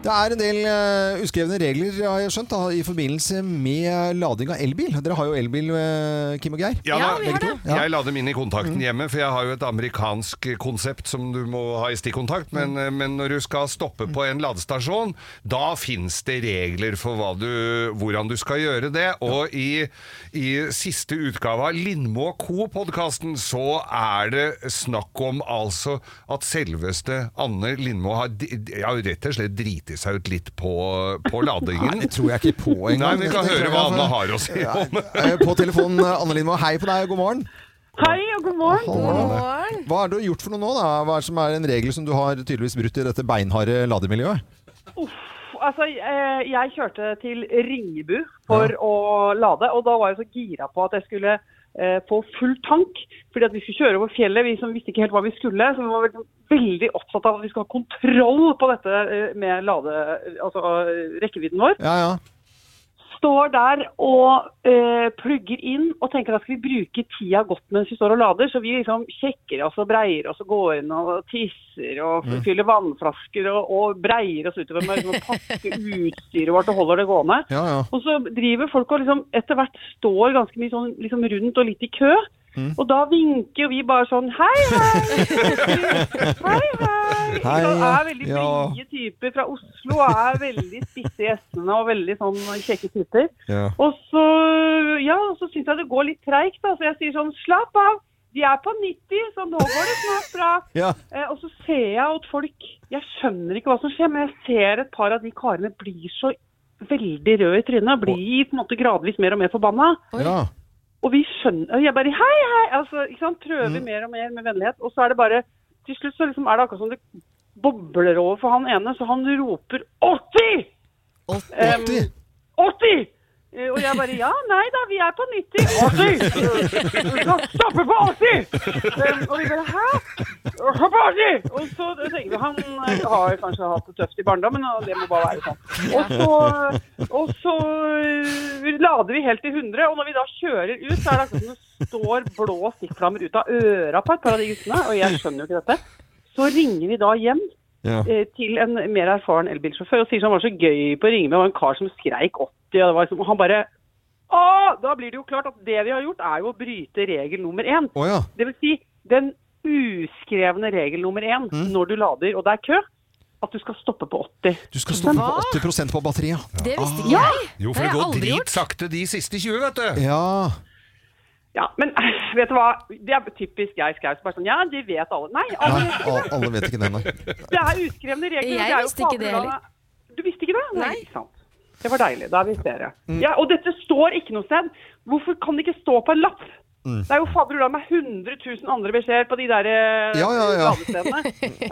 Speaker 1: Det er en del eh, uskrevne regler har jeg skjønt, da, i forbindelse med lading av elbil. Dere har jo elbil, eh, Kim og Geir.
Speaker 2: Ja,
Speaker 5: Ja,
Speaker 2: da,
Speaker 5: vi har det.
Speaker 2: Jeg lader mine i kontakten
Speaker 1: Mm.
Speaker 2: hjemme, for jeg har jo et amerikansk konsept som du må ha i stikkontakt. Men,
Speaker 1: Mm.
Speaker 2: eh, men når du skal stoppe på en ladestasjon, da fins det regler for hva du, hvordan du skal gjøre det. Og i, i siste utgave av Lindmo Co.-podkasten så er det snakk om altså at selveste Anne Lindmo har di- di- ja, rett og slett driti seg ut litt på, på ladingen.
Speaker 1: Det tror jeg ikke på
Speaker 2: Nei,
Speaker 1: engang.
Speaker 2: vi kan
Speaker 1: Det tror
Speaker 2: høre
Speaker 1: jeg
Speaker 2: hva
Speaker 1: altså-
Speaker 2: Anne har å si om det.
Speaker 1: Eh, På telefonen, eh, Anne Lindmo. Hei på deg, god morgen.
Speaker 8: Hei og god morgen.
Speaker 5: Morgen.
Speaker 1: Hva er det du har gjort for noe nå? da? Hva er det som er en regel som du har tydeligvis brutt i dette beinharde lademiljøet?
Speaker 8: Altså, eh, jeg kjørte til Ringebu for å lade, og da var jeg så gira på at jeg skulle eh, få full tank. Fordi at vi skulle kjøre over fjellet, vi som visste ikke helt hva vi skulle. Så vi var veldig, veldig opptatt av at vi skulle ha kontroll på dette eh, med lade, altså eh, rekkevidden vår.
Speaker 1: Ja, ja.
Speaker 8: Står der og eh, plugger inn og tenker at skal vi bruke tida godt mens vi står og lader. Så vi liksom sjekker oss og breier oss og går inn og tisser og fyller vannflasker og, og breier oss utover med liksom, å pakke utstyret vårt og holder det gående.
Speaker 1: ja, ja.
Speaker 8: Og så driver folk og liksom etter hvert står ganske mye sånn liksom rundt og litt i kø.
Speaker 1: Mm.
Speaker 8: Og da vinker jo vi bare sånn hei, hei! Hei, hei! Vi
Speaker 1: Hei,
Speaker 8: er veldig
Speaker 1: ja.
Speaker 8: blide typer fra Oslo, er veldig spisse i gjestene og veldig sånn kjekke typer.
Speaker 1: Ja.
Speaker 8: Og så, ja, og så syns jeg det går litt treigt, da. Så jeg sier sånn slapp av, de er på 90, så nå går det snart bra.
Speaker 1: Ja.
Speaker 8: Eh, og så ser jeg at folk Jeg skjønner ikke hva som skjer, men jeg ser et par av de karene blir så veldig røde i trynet. og Blir på en måte gradvis mer og mer forbanna.
Speaker 1: ja.
Speaker 8: Og vi skjønner og Jeg bare hei, hei! Altså, ikke sant? Prøver mer og mer med vennlighet. Og så er det bare Til slutt så liksom er det akkurat som det bobler over for han ene, så han roper 80!
Speaker 1: 80.
Speaker 8: 80! Eh, Og jeg bare ja, nei da, vi er på 90. 80! Vi skal stoppe på 80! Um, Og vi bare hæ? Hopp på 80! Og så tenker vi han eh, har jo kanskje hatt det tøft i barndommen, og det må bare være sånn. Og så, og så eh, lader vi helt til 100, og når vi da kjører ut, så er det akkurat som det står blå stikkflammer ut av øra på et par av de guttene, og jeg skjønner jo ikke dette. Så ringer vi da hjem
Speaker 1: Ja.
Speaker 8: eh, til en mer erfaren elbilsjåfør og sier som var så gøy på å ringe med, det var en kar som skreik 80, og det var liksom, og han bare Å! Da blir det jo klart at det vi har gjort, er jo å bryte regel nummer én.
Speaker 1: Å ja.
Speaker 8: Det vil si den uskrevne regel nummer én når du lader og det er kø, at du skal stoppe på 80.
Speaker 1: Du skal stoppe på 80 på batteriet.
Speaker 5: Det
Speaker 2: Ah.
Speaker 5: visste ikke jeg.
Speaker 2: Jo, for
Speaker 5: Det
Speaker 2: det
Speaker 5: har jeg
Speaker 2: går
Speaker 5: aldri gjort.
Speaker 2: dritsakte de siste 20, vet du.
Speaker 1: Ja.
Speaker 8: Ja, men eh, vet du hva? Det er typisk Geir Skau. som bare Sånn, ja, det vet alle. Nei, altså, alle
Speaker 1: Nei,
Speaker 8: vet ikke
Speaker 1: al- alle vet ikke det, nei.
Speaker 8: det. Det er uskrevne regler. og
Speaker 5: Jeg
Speaker 8: det er jo
Speaker 5: visste ikke det heller.
Speaker 8: fabelaktig. Du visste ikke det? Nei.
Speaker 5: Nei.
Speaker 8: ikke sant. Det var deilig. Da er vi flere.
Speaker 1: Mm.
Speaker 8: Ja, og dette står ikke noe sted. Hvorfor kan det ikke stå på en lapp?
Speaker 1: Mm.
Speaker 8: Det er jo fabelaktig med 100 000 andre beskjeder på de der eh,
Speaker 1: Ja, ja, ja.
Speaker 8: ladestedene.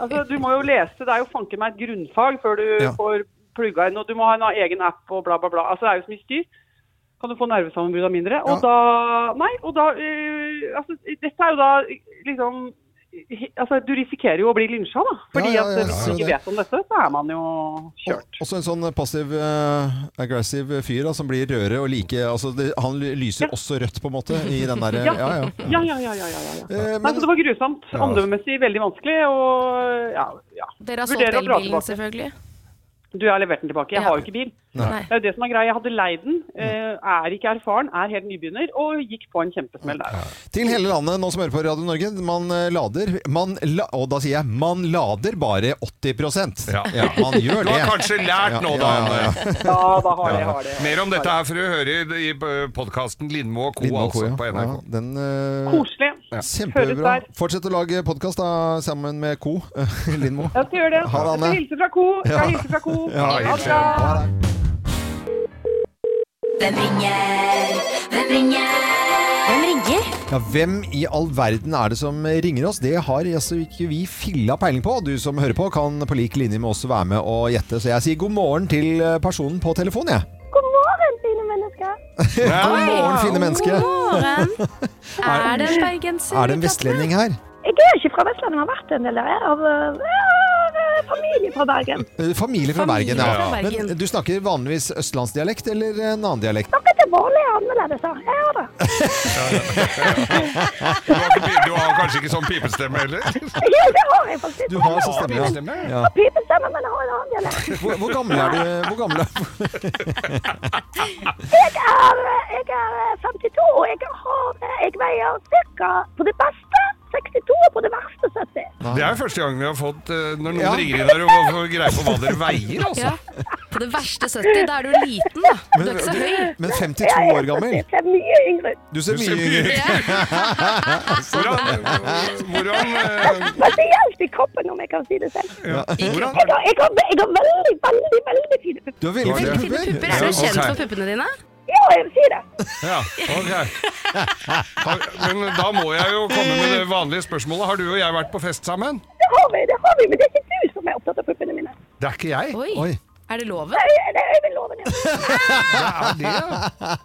Speaker 8: Altså, du må jo lese. Det er jo fanken meg et grunnfag før du
Speaker 1: Ja.
Speaker 8: får plugga inn, og du må ha en egen app og bla, bla, bla. Altså, det er jo så mye styr. Kan du få nervesammenbrudd av mindre? Og
Speaker 1: Ja.
Speaker 8: da Nei, og da eh, Altså, dette er jo da liksom he- Altså, du risikerer jo å bli lynsja, da. Fordi
Speaker 1: Ja, ja, ja,
Speaker 8: at hvis
Speaker 1: ja,
Speaker 8: du ikke
Speaker 1: det.
Speaker 8: vet om dette, så er man jo kjørt.
Speaker 1: Og- Også en sånn passiv eh, aggressive fyr da, som blir rødere og like altså, det, Han ly- lyser også rødt, på en måte, i den derre
Speaker 8: Ja.
Speaker 1: Ja, ja.
Speaker 8: Ja, ja, ja. ja, ja, ja. ja.
Speaker 1: Eh,
Speaker 8: Nei,
Speaker 1: men
Speaker 8: så det var grusomt. Omdømmemessig veldig vanskelig. Og ja, ja.
Speaker 5: Dere har
Speaker 8: Vurderer
Speaker 5: solgt
Speaker 8: å dra
Speaker 5: elbilen,
Speaker 8: tilbake.
Speaker 5: selvfølgelig.
Speaker 8: Du, jeg har levert den tilbake. Jeg
Speaker 5: Ja.
Speaker 8: har jo ikke bil.
Speaker 5: Nei.
Speaker 8: Det er jo det som er greia. Jeg hadde leid den. eh, Er ikke erfaren, er helt nybegynner, og gikk på en kjempesmell der.
Speaker 1: til hele landet nå som hører på Radio Norge, man eh, lader man la, Og da sier jeg man lader bare 80
Speaker 2: Ja.
Speaker 1: Man gjør
Speaker 2: Du
Speaker 1: det.
Speaker 2: har kanskje lært nå, da,
Speaker 1: Ja, ja,
Speaker 2: Anne.
Speaker 1: ja.
Speaker 8: Ja, da har jeg, har det.
Speaker 2: Mer om dette her får du høre i podkasten Lindmo og co.
Speaker 1: Lindmo Co,
Speaker 2: Altså,
Speaker 1: ja.
Speaker 2: på NRK.
Speaker 1: Ja, den, eh,
Speaker 8: Koselig. Høres
Speaker 1: Kjempebra.
Speaker 8: der.
Speaker 1: Fortsett å lage podkast sammen med Co. Lindmo.
Speaker 8: Jeg skal gjøre det.
Speaker 1: Ha det, Anne.
Speaker 8: Jeg skal hilse fra ko. Jeg skal hilse fra ko.
Speaker 1: Ja,
Speaker 8: Ha det
Speaker 2: hilse.
Speaker 8: bra.
Speaker 1: Ha det.
Speaker 4: Hvem ringer? Hvem ringer? Hvem ringer?
Speaker 1: Ja, Hvem i all verden er det som ringer oss? Det har altså ikke vi filla peiling på. Du som hører på, kan på lik linje med oss være med og gjette. Så jeg sier god morgen til eh, personen på telefonen, jeg.
Speaker 9: God morgen, fine mennesker.
Speaker 1: God morgen, fine menneske.
Speaker 5: Er det en bergenser?
Speaker 1: Er det en vestlending her?
Speaker 9: Jeg er ikke fra Vestlandet, men har vært en del der. Jeg har eh, familie fra Bergen.
Speaker 1: Eh, Familie fra
Speaker 9: Familie
Speaker 1: Bergen, ja.
Speaker 9: fra Bergen.
Speaker 1: Men du snakker vanligvis østlandsdialekt eller en annen dialekt?
Speaker 9: Dere til vanlig er annerledes, da. Jeg gjør det.
Speaker 2: Du har, ikke, pi- du har kanskje ikke sånn pipestemme heller?
Speaker 9: Jo, det har jeg faktisk.
Speaker 1: Du har så
Speaker 2: ja.
Speaker 1: stemme,
Speaker 2: Pipestemme,
Speaker 1: ja.
Speaker 9: Jeg har pipestemme, men jeg har en annen dialekt.
Speaker 1: Hvor, hvor gammel er du? Hvor gammel er
Speaker 9: Jeg er, eh, jeg er eh, 52, og jeg, har, eh, jeg veier ca. på det beste 62 og på det verste 70.
Speaker 2: Det er jo første gang vi har fått eh, Når noen
Speaker 1: Ja.
Speaker 2: ringer inn her og får greie på hva dere veier, altså.
Speaker 5: Ja. På det verste 70, da er du liten, da. Du er ikke så høy.
Speaker 1: Men, men 52
Speaker 9: Jeg er
Speaker 1: år gammel?
Speaker 9: faktisk mye yngre.
Speaker 1: Du ser
Speaker 2: Du ser
Speaker 1: mye
Speaker 2: mye
Speaker 1: yngre ut.
Speaker 2: Hvordan, hvordan, eh,
Speaker 9: Spesielt i kroppen, om jeg kan si det selv.
Speaker 2: hvordan
Speaker 9: Jeg har, jeg har, jeg har veldig, veldig, veldig fine pupper.
Speaker 1: Du har veldig
Speaker 2: Veldig
Speaker 1: fine
Speaker 5: Fine
Speaker 1: pupper.
Speaker 5: pupper. Er
Speaker 2: Ja,
Speaker 5: du kjent
Speaker 2: ok.
Speaker 5: for puppene dine?
Speaker 9: Ja, jeg vil si det.
Speaker 2: Ja, ok. Har- Men da må jeg jo komme med det vanlige spørsmålet. Har du og jeg vært på fest sammen?
Speaker 9: Det har vi, det har vi, men det er ikke du som er opptatt av puppene mine.
Speaker 2: Det er ikke jeg.
Speaker 5: Oi.
Speaker 1: Oi.
Speaker 5: Er det loven?
Speaker 9: Det er- det er Øyvind-loven, ja.
Speaker 2: Det er det.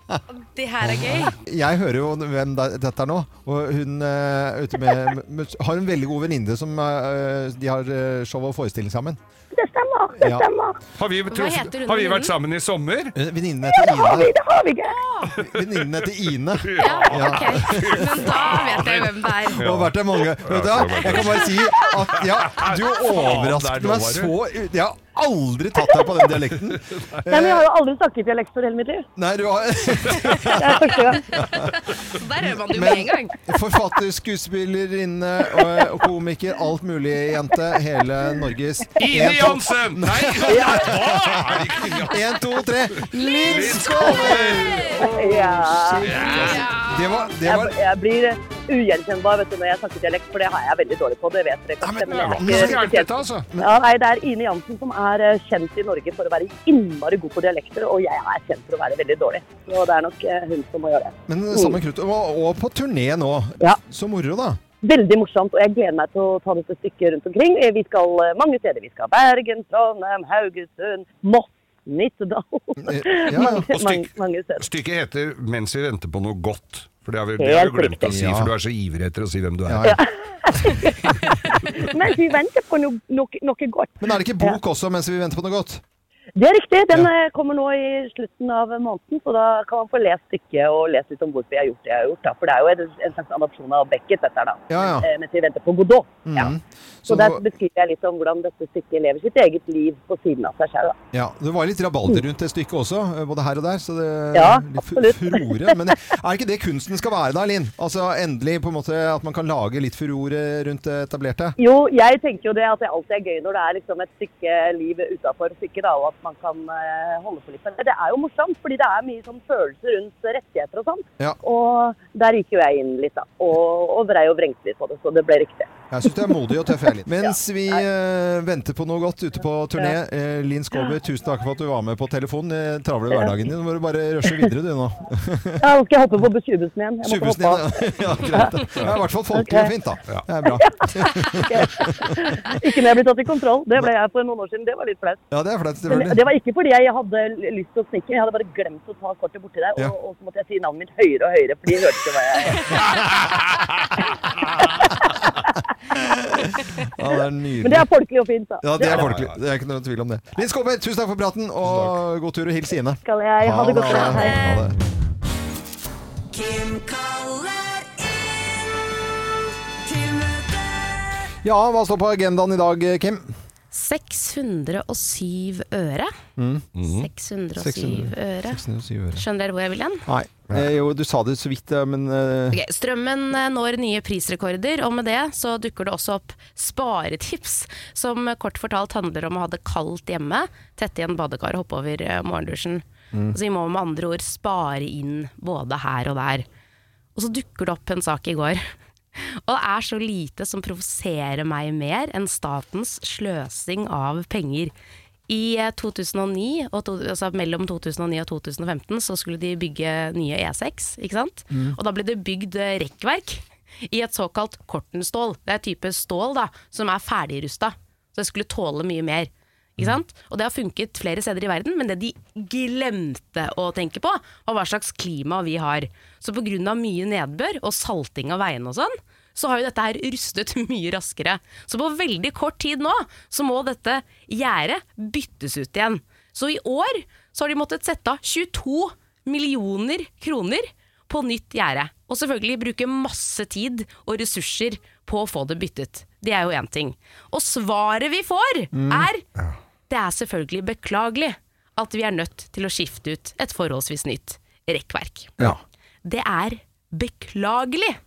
Speaker 2: ja.
Speaker 5: Det her er gøy.
Speaker 1: Jeg hører jo hvem det- dette er nå, og hun eh, ute med, med, har en veldig god venninne som eh, de har eh, show og forestilling sammen.
Speaker 9: Det stemmer. Det
Speaker 1: Ja.
Speaker 9: stemmer.
Speaker 2: Har vi,
Speaker 5: heter hun
Speaker 2: har vi
Speaker 5: venninnen?
Speaker 2: vært sammen i sommer?
Speaker 1: Eh, Venninnen
Speaker 9: Ja, det har
Speaker 1: heter
Speaker 9: vi,
Speaker 1: Ine.
Speaker 9: det har vi ikke.
Speaker 1: Venninnen heter Ine.
Speaker 5: Ja, ok. Men da vet jeg hvem det er.
Speaker 1: Og har vært der mange Vet du, hva? Jeg kan bare si at ja, du overrasket meg så Jeg har aldri tatt deg på den dialekten. Eh,
Speaker 8: Nei, men jeg har jo aldri snakket dialekt for hele mitt liv.
Speaker 1: Nei, du har
Speaker 9: Det er første gang.
Speaker 5: Så der hører man det jo med en gang.
Speaker 1: Men forfatter, skuespillerinne og- og komiker, alt mulig, jente. Hele Norges En,
Speaker 2: Ine
Speaker 1: to-
Speaker 2: Jansen! Nei, nei, hva er det ikke?
Speaker 1: En, to, tre. Lill Skåler!
Speaker 8: Ja.
Speaker 1: Det var, det var
Speaker 8: Jeg, jeg blir eh, ugjenkjennbar vet du, når jeg snakker dialekt, for det har jeg veldig dårlig på. Det vet dere kanskje.
Speaker 2: Det var
Speaker 8: Men
Speaker 2: ikke
Speaker 8: jeg
Speaker 2: så
Speaker 8: er
Speaker 2: gærent,
Speaker 8: ikke
Speaker 2: dette, altså.
Speaker 8: Ja, nei, Det er Ine Jansen som er eh, kjent i Norge for å være innmari god på dialekter, og jeg er kjent for å være veldig dårlig. Så det er nok eh, hun som må gjøre det.
Speaker 1: Men samme krutt. Og, og på turné nå.
Speaker 8: Ja.
Speaker 1: Så moro, da.
Speaker 8: Veldig morsomt, og jeg gleder meg til å ta dette stykket rundt omkring. Eh, Vi skal eh, mange steder. Vi skal Bergen, Trondheim, Haugesund, Moss, Nittedal.
Speaker 1: ja.
Speaker 8: mange,
Speaker 2: Og stykk-
Speaker 8: mange, mange steder.
Speaker 2: Stykket heter 'Mens vi venter på noe godt'. For det har vi, det har vi glemt å si, for du er så ivrig etter å si hvem du er.
Speaker 1: Ja.
Speaker 9: Mens vi venter på noe, noe, noe godt.
Speaker 1: Men er det ikke bok også mens vi venter på noe godt?
Speaker 8: Det er riktig. Den eh, kommer nå i slutten av måneden, så da kan man få lest stykket og lest litt om hvorfor jeg har gjort det jeg har gjort. Da. For det er jo en, en slags adopsjon av Beckett, dette her, da.
Speaker 1: Ja, ja.
Speaker 8: Eh, Mens vi venter på Godot. Ja.
Speaker 1: Mhm.
Speaker 8: Så
Speaker 1: Så
Speaker 8: der
Speaker 1: det,
Speaker 8: beskriver jeg litt om hvordan dette stykket lever sitt eget liv på siden av seg selv. da.
Speaker 1: ja, det var litt rabalder rundt det stykket også, eh, både her og der. Så det
Speaker 8: Ja,
Speaker 1: litt fu-
Speaker 8: absolutt.
Speaker 1: furore. Men er det ikke det kunsten skal være da, Linn? Altså endelig på en måte at man kan lage litt furore rundt det etablerte?
Speaker 8: Jo, jeg tenker jo det at det alltid er gøy når det er liksom et stykke liv utafor stykket, da, og at man kan eh, holde på litt med det. Det er jo morsomt, fordi det er mye sånn følelser rundt rettigheter og sånn.
Speaker 1: Ja.
Speaker 8: Og der gikk jo jeg inn litt, da. Og, og vrei og vrengte litt på det, så det ble riktig.
Speaker 1: Jeg syns du er modig og tøff, Elin. Mens vi eh, venter på noe godt ute på turné, eh, Linn Skåber, tusen takk for at du var med på telefonen. Eh, travle hverdagen din. Nå må du bare rushe videre, du nå.
Speaker 8: Ja, nå skal jeg hoppe på bussubussen igjen. Jeg måtte
Speaker 1: Supersen
Speaker 8: hoppe av.
Speaker 1: din. Ja, greit. Det er i hvert fall folkelig og fint, da. Det er bra.
Speaker 8: Ikke når jeg ble tatt i kontroll. Det ble jeg for noen år siden. Det var litt flaut.
Speaker 1: Ja, det er flaut,
Speaker 8: Men
Speaker 1: selvfølgelig.
Speaker 8: det var ikke fordi jeg hadde lyst til å snikke, jeg hadde bare glemt å ta kortet borti der.
Speaker 1: Ja.
Speaker 8: Og, og så måtte jeg si navnet mitt høyere og høyere, for de hørte ikke hva jeg
Speaker 1: Ja, det er
Speaker 8: Men det
Speaker 1: nydelig.
Speaker 8: er folkelig og fint, da.
Speaker 1: Ja, det er folkelig. Det er ikke noe tvil om det. Linn Skåber, tusen takk for praten, og god tur og hils Ine.
Speaker 8: Skal jeg ha det godt. da. Hei.
Speaker 1: Ha det.
Speaker 4: Kim kaller inn til møte.
Speaker 1: Ja, hva står på agendaen i dag, eh, Kim?
Speaker 5: 607 øre. 607 øre.
Speaker 1: 607 øre.
Speaker 5: Skjønner dere hvor jeg vil hen?
Speaker 1: Nei. Eh, Jo, du sa det så vidt, eh, men eh,
Speaker 5: Ok, strømmen eh, når nye prisrekorder, og med det så dukker det også opp sparetips, som eh, kort fortalt handler om å ha det kaldt hjemme, tette igjen badekar og hoppe over eh, morgendusjen. Så vi må med andre ord spare inn både her og der. Og så dukker det opp en sak i går. Og det er så lite som provoserer meg mer enn statens sløsing av penger.
Speaker 3: I eh, 2009, og to, altså mellom 2009 og 2015, så skulle de bygge nye E6, ikke sant?
Speaker 5: Mm.
Speaker 3: Og da ble det bygd eh, rekkverk i et såkalt kortenstål. Det er et type stål da, som er ferdigrusta, så det skulle tåle mye mer. Ikke sant? Og det har funket flere steder i verden, men det de glemte å tenke på, var hva slags klima vi har. Så pga. mye nedbør og salting av veiene og sånn, så har jo dette her rustet mye raskere. Så på veldig kort tid nå, så må dette gjerdet byttes ut igjen. Så i år så har de måttet sette av 22 millioner kroner på nytt gjerde. Og selvfølgelig bruke masse tid og ressurser på å få det byttet. Det er jo én ting. Og svaret vi får,
Speaker 5: Mm.
Speaker 3: er det er selvfølgelig beklagelig at vi er nødt til å skifte ut et forholdsvis nytt rekkverk.
Speaker 10: Ja.
Speaker 3: Det er beklagelig.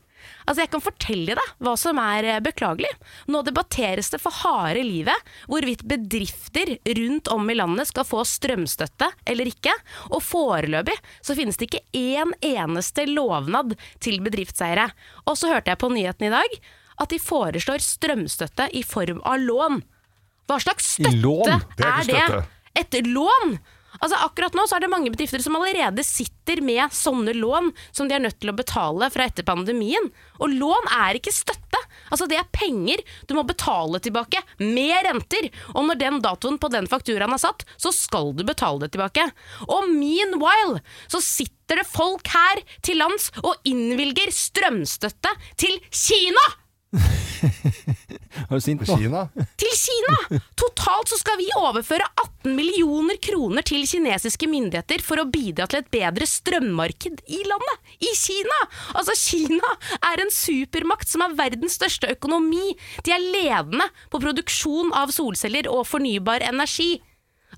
Speaker 3: Altså Jeg kan fortelle deg hva som er eh, beklagelig. Nå debatteres det for harde livet hvorvidt bedrifter rundt om i landet skal få strømstøtte eller ikke. Og foreløpig så finnes det ikke én eneste lovnad til bedriftseiere. Og så hørte jeg på nyheten i dag at de foreslår strømstøtte i form av lån. Hva slags
Speaker 5: I
Speaker 3: støtte
Speaker 5: lån?
Speaker 3: er,
Speaker 5: Det er ikke
Speaker 3: det?
Speaker 5: støtte.
Speaker 3: Et lån? Altså Akkurat nå så er det mange bedrifter som allerede sitter med sånne lån som de er nødt til å betale fra etter pandemien. Og lån er ikke støtte. Altså Det er penger du må betale tilbake med renter. Og når den datoen på den fakturaen er satt, så skal du betale det tilbake. Og meanwhile så sitter det folk her til lands og innvilger strømstøtte til Kina!
Speaker 1: Er du sint nå?
Speaker 2: Kina?
Speaker 3: Til Kina! Totalt så skal vi overføre 18 millioner kroner til kinesiske myndigheter for å bidra til et bedre strømmarked i landet. I Kina! Altså, Kina er en supermakt som er verdens største økonomi. De er ledende på produksjon av solceller og fornybar energi.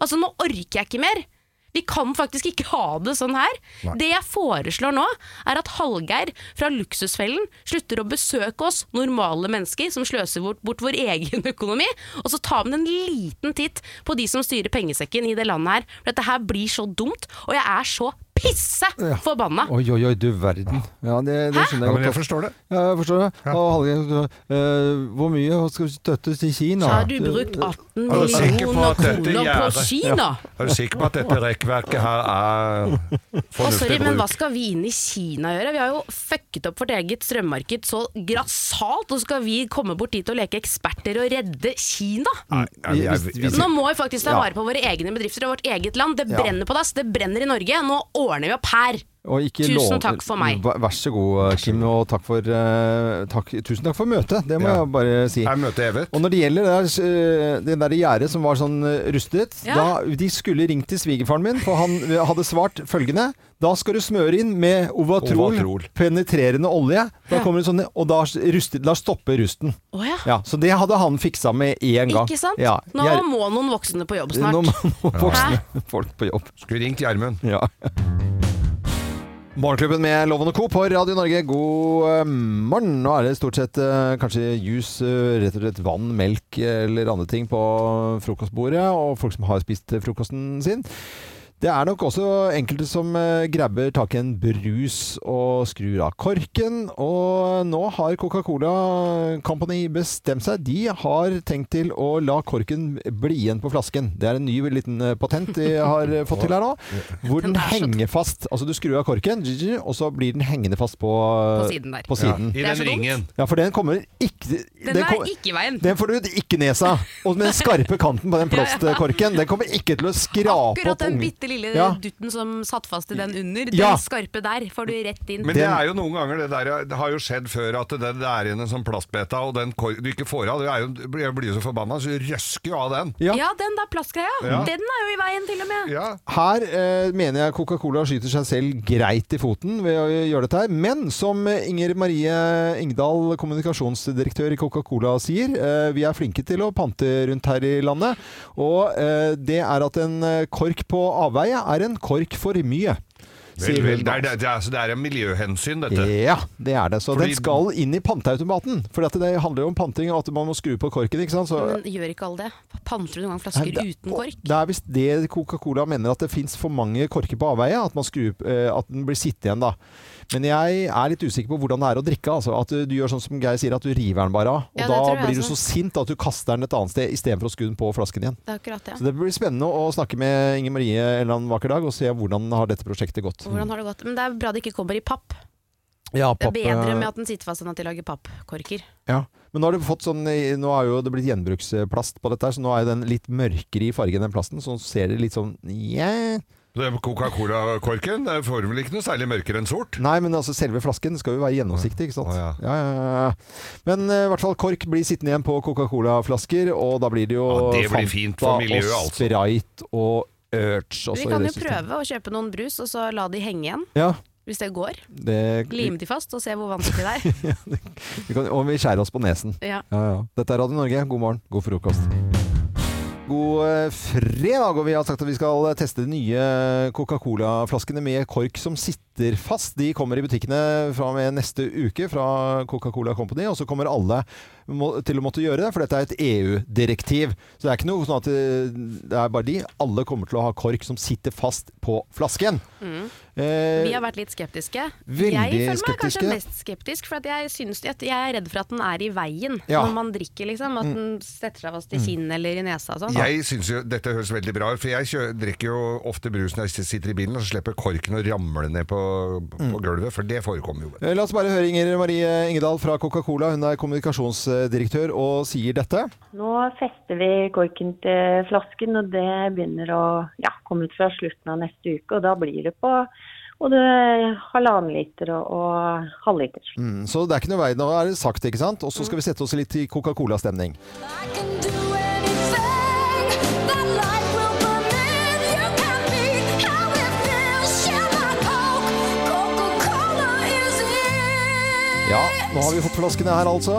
Speaker 3: Altså, nå orker jeg ikke mer. Vi kan faktisk ikke ha det sånn her.
Speaker 5: Nei.
Speaker 3: Det jeg foreslår nå, er at Hallgeir fra Luksusfellen slutter å besøke oss normale mennesker som sløser bort, bort vår egen økonomi, og så tar man en liten titt på de som styrer pengesekken i det landet her. For dette her blir så dumt, og jeg er så pisse forbanna.
Speaker 1: Oi, oi, oi, du verden. Ja, det, det skjønner jeg godt.
Speaker 2: Ja,
Speaker 1: altså.
Speaker 2: men jeg forstår det.
Speaker 1: Ja, jeg forstår det. Og Hallgeir, du, eh, hvor mye skal støttes til Kina?
Speaker 3: Har du brukt 18
Speaker 1: Er du sikker på
Speaker 3: millioner
Speaker 1: at dette
Speaker 3: kroner på
Speaker 1: gjerdet-
Speaker 3: Kina?
Speaker 2: Er du sikker på at dette rekkverket her er
Speaker 3: Å, sorry,
Speaker 2: fornuftig
Speaker 3: men hva
Speaker 2: bruk?
Speaker 3: skal vi inn i Kina gjøre? Vi har jo fucket opp vårt eget strømmarked så grassat, og så skal vi komme bort dit og leke eksperter og redde Kina?
Speaker 2: Nei, nei, vi er- vi er-
Speaker 3: Nå må vi faktisk ta
Speaker 1: Ja.
Speaker 3: vare på våre egne bedrifter og vårt eget land. Det
Speaker 1: Ja.
Speaker 3: brenner på dass, det brenner i Norge. Nå ordner vi opp her.
Speaker 1: Og ikke
Speaker 3: Tusen
Speaker 1: lov-
Speaker 3: takk for meg.
Speaker 1: Vær vær så god, Kim, og takk for, eh, takk, tusen takk for møtet. Det må jeg bare si. Og når det gjelder det der, eh, det der gjerdet som var sånn eh, rustet,
Speaker 10: Ja.
Speaker 1: da de skulle ringt til svigerfaren min, for han eh, hadde svart følgende Da skal du smøre inn med Ovatrol,
Speaker 2: Ovatrol.
Speaker 1: penetrerende olje. Da
Speaker 3: Ja.
Speaker 1: kommer det sånn, og da, rustet, da stopper rusten.
Speaker 3: Å ja.
Speaker 1: så det hadde han fiksa med én gang.
Speaker 3: Ikke sant?
Speaker 1: Ja,
Speaker 3: Nå
Speaker 1: gjerd-
Speaker 3: må noen voksne på jobb
Speaker 1: Nå
Speaker 3: snart.
Speaker 1: må noen voksne folk på jobb.
Speaker 2: Skulle ringt Gjermund.
Speaker 1: Ja. Morgenklubben med Loven og Co. på Radio Norge, god eh, morgen. Nå er det stort sett eh, kanskje juice, eh, rett og slett vann, melk eh, eller andre ting på frokostbordet, og folk som har spist eh, frokosten sin. Det er nok også enkelte som eh, grabber tak i en brus og skrur av korken. Og nå har Coca-Cola Company bestemt seg. De har tenkt til å la korken bli igjen på flasken. Det er en ny liten eh, patent de har eh, fått til her nå. Hvor den henger fast. Altså du skrur av korken, og så blir den hengende fast på,
Speaker 3: På siden der.
Speaker 1: på siden.
Speaker 3: Ja, i Det er den så dumt. ringen.
Speaker 1: Ja, for den kommer ikke
Speaker 3: Den er ikke i veien.
Speaker 1: Den får du ikke ned seg. Og med den skarpe kanten på den
Speaker 3: Ja, ja.
Speaker 1: plastkorken, den kommer ikke til å skrape
Speaker 3: Akkurat
Speaker 1: opp
Speaker 3: den
Speaker 1: ungen.
Speaker 3: bitte lille
Speaker 1: Ja.
Speaker 3: dutten som satt fast i den under,
Speaker 1: Ja.
Speaker 3: den skarpe der, får du rett inn.
Speaker 2: Men det er jo noen ganger det der Det har jo skjedd før at det det er igjen en sånn plastbeta, og den kor- du ikke får av, det er jo, du blir- blir jo så forbanna, så du røsker jo av den.
Speaker 3: Ja, den der plastgreia.
Speaker 1: Ja.
Speaker 3: Den er jo i veien, til og med.
Speaker 1: Her eh, mener jeg Coca-Cola skyter seg selv greit i foten ved å gjøre dette her. Men som eh, Inger Marie Ingdal, kommunikasjonsdirektør i Coca-Cola, sier, eh, vi er flinke til å pante rundt her i landet. Og eh, det er at en eh, kork på avveie er en kork for mye.
Speaker 2: Vel,
Speaker 1: sier
Speaker 2: vel,
Speaker 1: hun
Speaker 2: det,
Speaker 1: da.
Speaker 2: er, det, er, det er- så det er en miljøhensyn, dette.
Speaker 1: Ja, det er det. Så
Speaker 2: Fordi-
Speaker 1: den skal inn i panteautomaten. For dette, det handler jo om panting, og at man må skru på korken. ikke sant? Så,
Speaker 3: Men gjør ikke alle det? Panter du noen gang flasker
Speaker 1: Nei, det-
Speaker 3: uten kork?
Speaker 1: Det er visst det Coca-Cola mener, at det fins for mange korker på avveie. At, man skrur, eh, at den blir sittende igjen, da. Men jeg er litt usikker på hvordan det er å drikke. Altså. At du, du gjør sånn som Geir sier, at du river den bare av. Og
Speaker 5: Ja, det
Speaker 1: da
Speaker 5: tror jeg
Speaker 1: blir du
Speaker 5: også.
Speaker 1: så sint at du kaster den et annet sted istedenfor å skru den på flasken igjen.
Speaker 5: Det er akkurat det.
Speaker 1: Så det blir spennende å snakke med Inger Marie en eller annen vakker dag og se hvordan har dette prosjektet gått.
Speaker 5: Hvordan har det gått? Men det er bra det ikke kommer i papp.
Speaker 1: Ja,
Speaker 5: Det er
Speaker 1: papp,
Speaker 5: bedre med
Speaker 1: eh,
Speaker 5: at den sitter fast enn at de lager pappkorker.
Speaker 1: Ja. Men nå har, du fått sånn, nå har jo det blitt gjenbruksplast på dette, her, så nå er den litt mørkere i fargen enn plasten. Så ser det litt sånn yeah.
Speaker 2: Den Coca-Cola-korken det får vel ikke noe særlig mørkere enn sort?
Speaker 1: Nei, men altså selve flasken skal jo være gjennomsiktig, ikke sant? ja. Ja, ja, Men eh, i hvert fall kork blir sittende igjen på Coca-Cola-flasker, og da blir det jo
Speaker 2: Ja, det blir fint for miljøet,
Speaker 1: og
Speaker 2: altså.
Speaker 1: Sprite og Urge. også
Speaker 5: Vi
Speaker 1: i
Speaker 5: kan
Speaker 1: det
Speaker 5: jo
Speaker 1: systemet.
Speaker 5: prøve å kjøpe noen brus, og så la de henge igjen.
Speaker 1: Ja,
Speaker 5: Hvis det går.
Speaker 1: det,
Speaker 5: Lim de fast, og se hvor vanskelig det er.
Speaker 1: vi kan, og vi skjærer oss på nesen.
Speaker 5: Ja.
Speaker 1: Ja, ja. Dette er Radio Norge. God morgen, god frokost. God eh, fredag, og vi har sagt at vi skal eh, teste de nye eh, Coca-Cola-flaskene med kork som sitter fast. De kommer i butikkene fra og med neste uke fra Coca-Cola Company, og så kommer alle må- til å måtte gjøre det, for dette er et EU-direktiv. Så det er ikke noe sånn at eh, det er bare de. Alle kommer til å ha kork som sitter fast på flasken.
Speaker 5: Mm.
Speaker 1: Eh,
Speaker 5: Vi har vært litt skeptiske.
Speaker 1: veldig
Speaker 5: jeg føler meg
Speaker 1: skeptiske.
Speaker 5: kanskje mest skeptisk, for at jeg, synes at jeg er redd for at den er i veien
Speaker 2: Ja.
Speaker 5: når man drikker. liksom At
Speaker 2: Mm.
Speaker 5: den setter seg fast i
Speaker 2: Mm.
Speaker 5: kinnet eller i nesa og sånn.
Speaker 2: Jeg synes jo, Dette høres veldig bra ut, for jeg kjø, drikker jo ofte brus når jeg sitter i bilen, og så slipper korken å ramle ned på,
Speaker 1: Mm.
Speaker 2: på gulvet, for det forekommer jo.
Speaker 1: Eh, La oss bare høre Inger Marie Ingedal fra Coca-Cola. Hun er kommunikasjonsdirektør og sier dette.
Speaker 11: Nå fester vi korken til flasken, og det begynner å ja, komme ut fra slutten av neste uke. Og da blir det på både halvannen liter og, og halvliter.
Speaker 1: Mm, så det er ikke noe vei. Nå er det sagt, ikke sant? Og så skal vi sette oss litt i Coca-Cola-stemning. Ja, nå har vi fått flaskene her, altså.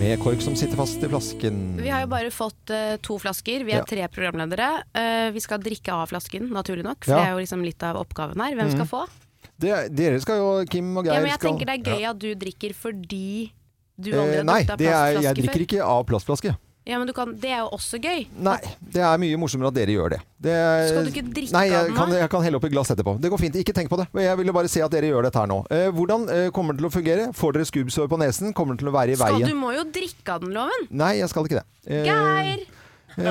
Speaker 1: Med kork som sitter fast i flasken.
Speaker 5: Vi har jo bare fått eh, to flasker. Vi er
Speaker 1: Ja.
Speaker 5: tre programledere. Eh, vi skal drikke av flasken, naturlig nok. For
Speaker 1: Ja.
Speaker 5: det er jo liksom litt av oppgaven her. Hvem
Speaker 1: Mm.
Speaker 5: skal få?
Speaker 1: Det, dere skal jo, Kim og Geir
Speaker 5: Ja, men jeg
Speaker 1: skal
Speaker 5: tenker det er gøy
Speaker 1: Ja.
Speaker 5: at du drikker fordi du
Speaker 1: Eh,
Speaker 5: aldri har
Speaker 1: Nei,
Speaker 5: drukket av
Speaker 1: det er,
Speaker 5: plastflaske
Speaker 1: jeg drikker
Speaker 5: før.
Speaker 1: ikke av plastflaske.
Speaker 5: Ja, men du kan, det er jo også gøy.
Speaker 1: Nei, det er mye morsommere at dere gjør det. det
Speaker 5: Skal du ikke drikke
Speaker 1: nei,
Speaker 5: av
Speaker 1: jeg
Speaker 5: den,
Speaker 1: kan,
Speaker 5: da?
Speaker 1: jeg kan helle opp i glass etterpå. Det går fint. Ikke tenk på det. Jeg ville bare se at dere gjør dette her nå. Eh, hvordan eh, kommer det til å fungere? Får dere skubbsår på nesen? Kommer det til å være i
Speaker 5: Skal,
Speaker 1: veien?
Speaker 5: du må jo drikke av den, loven!
Speaker 1: Nei, jeg skal ikke det. Eh,
Speaker 5: Geir!
Speaker 2: Hva,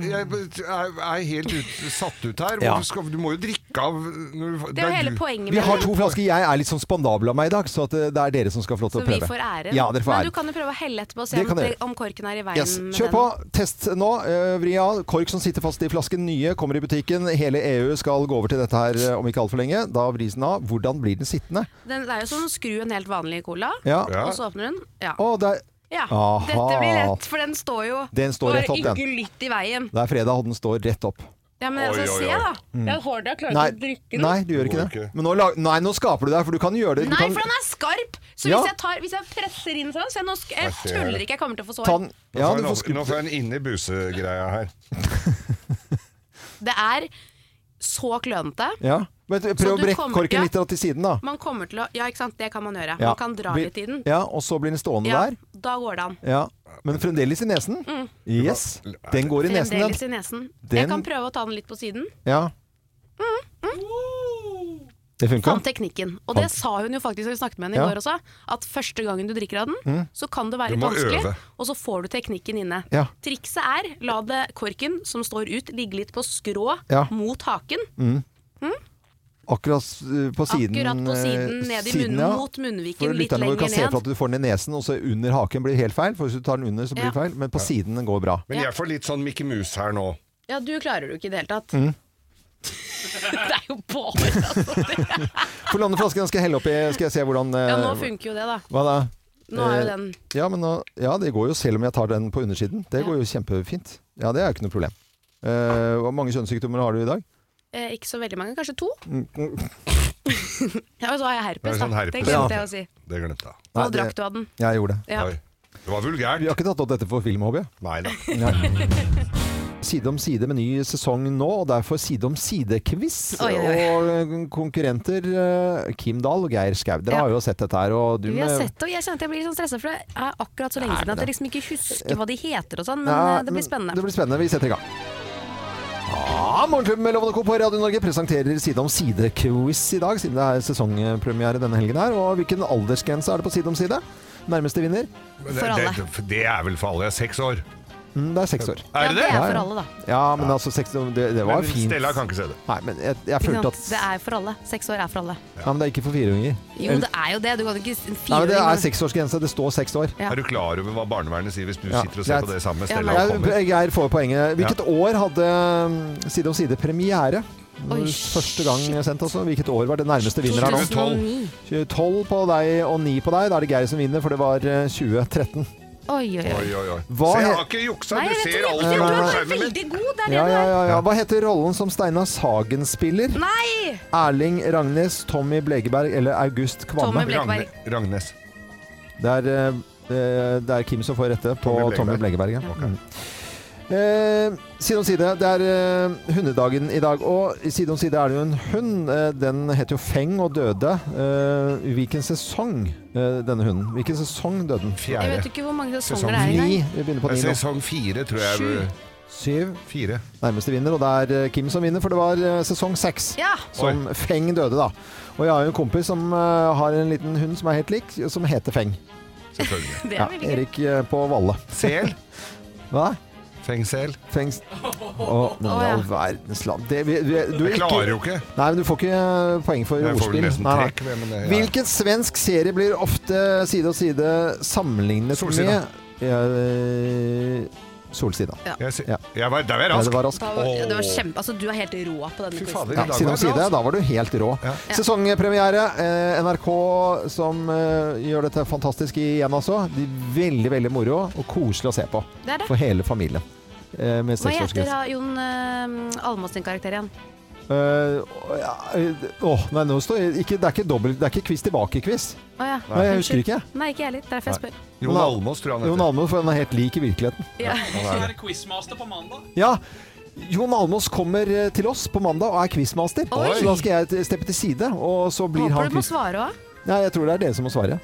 Speaker 2: Jeg er er helt ut, satt ut her.
Speaker 1: Mm. Ja.
Speaker 2: Hvorfor Skal, du må jo drikke av når du,
Speaker 1: Eh,
Speaker 5: Det er jo hele
Speaker 2: du-
Speaker 5: poenget
Speaker 1: Vi har to flasker. Jeg er litt sånn spandabel av meg i dag, så at eh, det er dere som skal få lov til
Speaker 5: Så
Speaker 1: å
Speaker 5: vi
Speaker 1: prøve.
Speaker 5: får æren.
Speaker 1: Ja, dere får
Speaker 5: men
Speaker 1: æren.
Speaker 5: du kan jo prøve å helle etterpå og se
Speaker 1: Det
Speaker 5: om,
Speaker 1: kan dere
Speaker 5: det- om korken er i veien.
Speaker 1: Yes.
Speaker 5: med
Speaker 1: Kjør
Speaker 5: den.
Speaker 1: på! Test nå. eh, Vri av. Kork som sitter fast i flasken. Nye kommer i butikken. Hele EU skal gå over til dette her eh, om ikke altfor lenge. Da vris den av. Hvordan blir den sittende?
Speaker 5: Den, det er jo som å skru en helt vanlig cola,
Speaker 1: Ja.
Speaker 5: og så åpner hun. Ja.
Speaker 1: Å, det er-
Speaker 5: ja.
Speaker 1: Aha.
Speaker 5: Dette blir lett, for den står jo
Speaker 1: Den står
Speaker 5: bare
Speaker 1: rett opp, den.
Speaker 5: ikke litt i veien.
Speaker 1: Det er fredag, og den står rett opp.
Speaker 5: Ja, men altså,
Speaker 1: Oi, oi,
Speaker 5: se,
Speaker 1: oi.
Speaker 5: da.
Speaker 1: Mm.
Speaker 5: Jeg har da klart
Speaker 1: Nei,
Speaker 5: å drikke den.
Speaker 1: nei, du gjør ikke det. Men nå, la- nei, nå skaper du deg, for du kan gjøre det. Du
Speaker 5: Nei,
Speaker 1: kan,
Speaker 5: for den er skarp! Så
Speaker 1: Ja.
Speaker 5: hvis, jeg tar, hvis jeg presser inn sånn så jeg, nå sk jeg
Speaker 2: Jeg ser
Speaker 5: tuller
Speaker 2: det.
Speaker 5: ikke, jeg kommer til å få
Speaker 2: Ta
Speaker 5: sår.
Speaker 2: den- nå, får jeg, nå får jeg en inni buse-greia her.
Speaker 5: Det er så klønete.
Speaker 1: Ja. Men
Speaker 5: Så
Speaker 1: prøv å
Speaker 5: du
Speaker 1: brekke
Speaker 5: kommer-
Speaker 1: korken
Speaker 5: ja.
Speaker 1: litt til siden, da.
Speaker 5: Man kommer til å Ja, ikke sant, det kan man gjøre.
Speaker 1: Ja.
Speaker 5: Man kan dra
Speaker 1: Blir-
Speaker 5: litt i den.
Speaker 1: Ja, og så blir den stående
Speaker 5: Ja,
Speaker 1: der.
Speaker 5: da går det an.
Speaker 1: Ja. Men fremdeles i nesen.
Speaker 5: Mm.
Speaker 1: Yes. Den går i nesen,
Speaker 5: Fremdeles i
Speaker 1: den.
Speaker 5: nesen.
Speaker 1: Den-
Speaker 5: Jeg kan prøve å ta den litt på siden.
Speaker 1: Ja. Det funka?
Speaker 5: Mm, Fant teknikken. Og det sa hun jo faktisk da vi snakket med henne i
Speaker 1: Ja.
Speaker 5: går også. At første gangen du drikker av den,
Speaker 1: Mm.
Speaker 5: så kan det være
Speaker 1: Du
Speaker 5: litt
Speaker 1: må
Speaker 5: vanskelig,
Speaker 1: øve.
Speaker 5: og så får du teknikken inne.
Speaker 1: Ja.
Speaker 5: Trikset er la det korken som står ut, ligge litt på skrå
Speaker 1: Ja.
Speaker 5: mot haken.
Speaker 1: Mm.
Speaker 5: Mm.
Speaker 1: Akkurat s- på siden.
Speaker 5: Akkurat på siden,
Speaker 1: eh,
Speaker 5: ned i
Speaker 1: siden,
Speaker 5: munnen,
Speaker 1: ja.
Speaker 5: mot munnviken,
Speaker 1: For
Speaker 5: litt
Speaker 1: lytterne våre kan
Speaker 5: lenger
Speaker 1: se for
Speaker 5: ned.
Speaker 1: at du får den i nesen, og så under haken blir helt feil. For hvis du tar den under, så blir
Speaker 5: Ja.
Speaker 1: det feil. Men på siden den går bra.
Speaker 2: Men jeg får litt sånn Mickey Mus her nå.
Speaker 5: Ja, du klarer det jo ikke i det hele tatt.
Speaker 1: Mm.
Speaker 5: det er jo bare altså.
Speaker 1: For landeflasken skal jeg helle oppi, skal jeg se hvordan eh,
Speaker 5: Ja, nå funker jo det, da.
Speaker 1: Hva da?
Speaker 5: Nå er jo
Speaker 1: Eh,
Speaker 5: den-
Speaker 1: ja, men nå, ja, det går jo selv om jeg tar den på undersiden. Det går jo kjempefint. Ja, det er jo ikke noe problem. Eh, hvor mange kjønnssykdommer har du i dag?
Speaker 5: Eh, ikke så veldig mange, kanskje to.
Speaker 1: Mm.
Speaker 5: Ja, og så har jeg herpes,
Speaker 2: Det er
Speaker 5: da.
Speaker 2: sånn
Speaker 5: det
Speaker 2: herpes, ja.
Speaker 5: glemte jeg å si.
Speaker 2: Det glemte jeg.
Speaker 5: Nå drakk du av den.
Speaker 1: Jeg gjorde det.
Speaker 5: Ja.
Speaker 2: Det var vulgært.
Speaker 1: Vi har ikke tatt opp dette for filmhobby.
Speaker 2: Nei da.
Speaker 1: Side om side med ny sesong nå, og derfor Side om side-quiz.
Speaker 5: Oi, oi, oi.
Speaker 1: Og eh, konkurrenter eh, Kim Dahl og Geir Skau. Dere
Speaker 5: Ja.
Speaker 1: har jo sett dette her. Og du
Speaker 5: Vi har
Speaker 1: med-
Speaker 5: sett det, og jeg kjente jeg blir litt sånn stressa, for det er akkurat så lenge
Speaker 1: Er det
Speaker 5: siden at
Speaker 1: det?
Speaker 5: jeg liksom ikke husker hva de heter og sånn, men
Speaker 1: Nei,
Speaker 5: eh, det blir spennende.
Speaker 1: Det blir spennende. Vi setter i gang. Ja, Ah, Morgenklubben med Lovende Co. på Radio Norge presenterer Side om side-quiz i dag, siden det er sesongpremiere denne helgen her. Og hvilken aldersgrense er det på Side om side? Nærmeste vinner?
Speaker 2: Det, det, det er vel for alle. Jeg er seks år.
Speaker 1: Mm, det er seks år.
Speaker 2: Er det det?
Speaker 5: Ja, det er for alle, da.
Speaker 1: Ja, men altså seks år, det, det var
Speaker 2: Men
Speaker 1: fint.
Speaker 2: Stella kan ikke se det.
Speaker 1: Nei, men jeg, jeg
Speaker 5: Ikke
Speaker 1: følte
Speaker 5: sant?
Speaker 1: at
Speaker 5: Det er for alle. Seks år er for alle.
Speaker 1: Nei, men det er ikke for fireåringer.
Speaker 5: Jo, det er jo det. Du kan ikke en
Speaker 1: Nei, men det
Speaker 5: fireåring-
Speaker 1: er seksårsgrense. Det står seks år.
Speaker 5: Ja.
Speaker 2: Er du klar over hva barnevernet sier hvis du
Speaker 1: Ja,
Speaker 2: sitter og ser
Speaker 1: greit.
Speaker 2: på det sammen med
Speaker 1: Ja,
Speaker 2: Stella
Speaker 1: men-
Speaker 2: og kommer?
Speaker 1: Jeg- Geir får poenget. Hvilket år hadde mm, Side om side premiere?
Speaker 2: Oi,
Speaker 1: Første gang sendt, altså. Hvilket år var det nærmeste vinner her nå?
Speaker 5: 2009.
Speaker 1: 2012. på deg og 9 på deg. Da er det Geir som vinner, for det var eh, 2013.
Speaker 5: Oi, oi, oi.
Speaker 2: Oi, oi, oi.
Speaker 1: Hva
Speaker 2: Se, jeg
Speaker 1: he-
Speaker 2: har ikke juksa!
Speaker 5: Nei,
Speaker 2: Du
Speaker 5: jeg vet
Speaker 2: ser
Speaker 5: ikke.
Speaker 2: alt
Speaker 1: Nei,
Speaker 2: på
Speaker 1: nei, nei.
Speaker 2: skjermen min!
Speaker 5: Veldig god, der
Speaker 1: Ja,
Speaker 5: er
Speaker 1: ja,
Speaker 5: den
Speaker 1: ja,
Speaker 5: der.
Speaker 1: ja. Hva heter rollen som Steinar Sagen spiller?
Speaker 5: Nei!
Speaker 1: Erling Ragnes, Tommy Blegeberg eller August Kvamme?
Speaker 5: Tommy Blegeberg.
Speaker 2: Ragne- Ragnes.
Speaker 1: Det er, eh, eh, det er Kim som får rette på
Speaker 2: Tommy
Speaker 1: Tommy
Speaker 2: Blegeberg.
Speaker 1: Blegeberg. Ja.
Speaker 2: Ja. Ok.
Speaker 1: Mm. Eh, side om side, det er eh, hundedagen i dag. Og i side om side er det jo en hund. Eh, den heter jo Feng og døde. Eh, I hvilken sesong eh, denne hunden? Hvilken sesong døde den?
Speaker 5: Jeg vet
Speaker 2: Fjerde.
Speaker 5: ikke hvor mange
Speaker 2: Sesong
Speaker 5: sesonger det er i
Speaker 1: Ni.
Speaker 5: dag.
Speaker 1: Vi begynner på ni nå.
Speaker 2: Sesong fire, tror jeg.
Speaker 1: Syv.
Speaker 2: Fire.
Speaker 1: Nærmeste vinner, og det er eh, Kim som vinner, for det var eh, sesong seks.
Speaker 5: Ja.
Speaker 1: Som Feng døde, da. Og jeg har jo en kompis som eh, har en liten hund som er helt lik, som heter Feng.
Speaker 2: Selvfølgelig.
Speaker 5: Det
Speaker 1: Ja,
Speaker 5: er veldig gøy.
Speaker 1: Erik eh, på Valle.
Speaker 2: Sel.
Speaker 1: Hva?
Speaker 2: Fengsel.
Speaker 1: Feng Å, men i
Speaker 5: Å, ja.
Speaker 1: all verdens land det, vi, vi, du, er
Speaker 2: Jeg
Speaker 1: ikke,
Speaker 2: klarer jo ikke.
Speaker 1: Nei, men du får ikke eh, poeng for
Speaker 2: Jeg får vel
Speaker 1: ordspill.
Speaker 2: nesten
Speaker 1: Nei, nei.
Speaker 2: trekk. men eh, det- ja.
Speaker 1: Hvilken svensk serie blir ofte side om side sammenlignet
Speaker 2: Solsida.
Speaker 1: med eh, Solsida.
Speaker 2: Jeg, ser-
Speaker 1: Ja.
Speaker 2: jeg var, der var jeg
Speaker 1: Ja,
Speaker 2: rask.
Speaker 1: det var raskt.
Speaker 5: Da var- Det var kjempe... Altså, du er helt rå på denne
Speaker 2: Fy
Speaker 5: quizen.
Speaker 2: fader, i
Speaker 1: Ja,
Speaker 2: dag
Speaker 1: side om
Speaker 2: var jeg
Speaker 1: side,
Speaker 2: rask.
Speaker 1: da var du helt rå.
Speaker 2: Ja.
Speaker 1: Sesongpremiere. Eh, NRK som eh, gjør dette fantastisk igjen, altså. De, veldig, veldig moro og koselig å se på.
Speaker 5: Det er det.
Speaker 1: For hele familien. Eh, med
Speaker 5: Hva heter
Speaker 1: seksårsgrense.
Speaker 5: da Jon uh, Almaas sin karakter igjen?
Speaker 1: Eh, å, ja, eh, åh, nei, nå står ikke, Det er ikke dobbelt, det er ikke quiz tilbake-quiz.
Speaker 5: Å ja.
Speaker 1: Nei, jeg husker
Speaker 5: Unnskyld.
Speaker 1: ikke.
Speaker 5: Nei, ikke jeg heller. Derfor jeg spør.
Speaker 2: Jon Almaas, tror jeg
Speaker 1: Jon
Speaker 2: han heter.
Speaker 1: Almaas, for han er helt lik i virkeligheten.
Speaker 5: Ja.
Speaker 7: Skal være quizmaster på mandag.
Speaker 1: Ja, Jon Almaas kommer eh, til oss på mandag og er quizmaster.
Speaker 5: Oi.
Speaker 1: Så da skal jeg t- steppe til side, og så blir
Speaker 5: Håper
Speaker 1: han
Speaker 5: du må
Speaker 1: quiz...
Speaker 5: svare òg.
Speaker 1: Nei, jeg tror det er dere som må svare.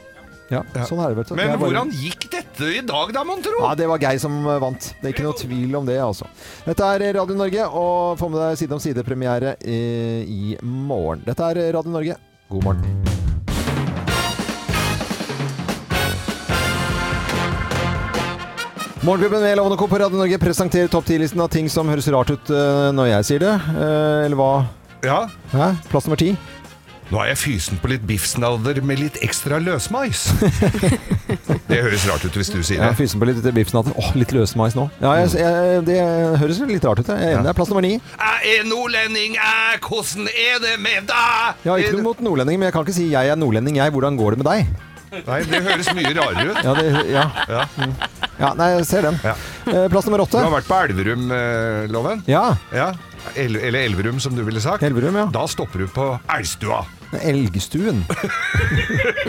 Speaker 1: Ja, sånn er det vel. Det
Speaker 2: Men
Speaker 1: er bare-
Speaker 2: hvordan gikk dette i dag, da, mon tro?
Speaker 1: Ja, det var Geir som eh, vant. Det er ikke noe tvil om det, altså. Dette er Radio Norge, og få med deg Side om side-premiere eh, i morgen. Dette er eh, Radio Norge. God morgen. Morgenklubben med Lovende Co. på Radio Norge presenterer topp 10-listen av ting som høres rart ut eh, når jeg sier det. Eh, Eller hva?
Speaker 2: Ja.
Speaker 1: Hæ? Plass nummer ti?
Speaker 2: Nå er jeg fysen på litt biffsnadder med litt ekstra løsmais. det høres rart ut hvis du sier
Speaker 1: Ja,
Speaker 2: det.
Speaker 1: Fysen på litt biffsnatter. Åh, litt løsmais nå. Ja, jeg, jeg, det høres litt rart ut. Jeg er enig. Det er Plass nummer ni.
Speaker 2: Jeg er nordlending, jeg. Hvordan er det med deg?
Speaker 1: Jeg har ikke noe mot nordlendinger, men jeg kan ikke si 'jeg er nordlending, jeg'. Hvordan går det med deg?
Speaker 2: Nei, det høres mye rarere ut.
Speaker 1: Ja, det, ja.
Speaker 2: Ja.
Speaker 1: ja nei, jeg ser den.
Speaker 2: Ja.
Speaker 1: Eh, Plass nummer
Speaker 2: Du
Speaker 1: åtte.
Speaker 2: har vært på Elverum-loven?
Speaker 1: Ja.
Speaker 2: Ja. El eller Elverum, som du ville sagt.
Speaker 1: Elverum, ja.
Speaker 2: Da stopper du på Elgstua.
Speaker 1: Elgstuen.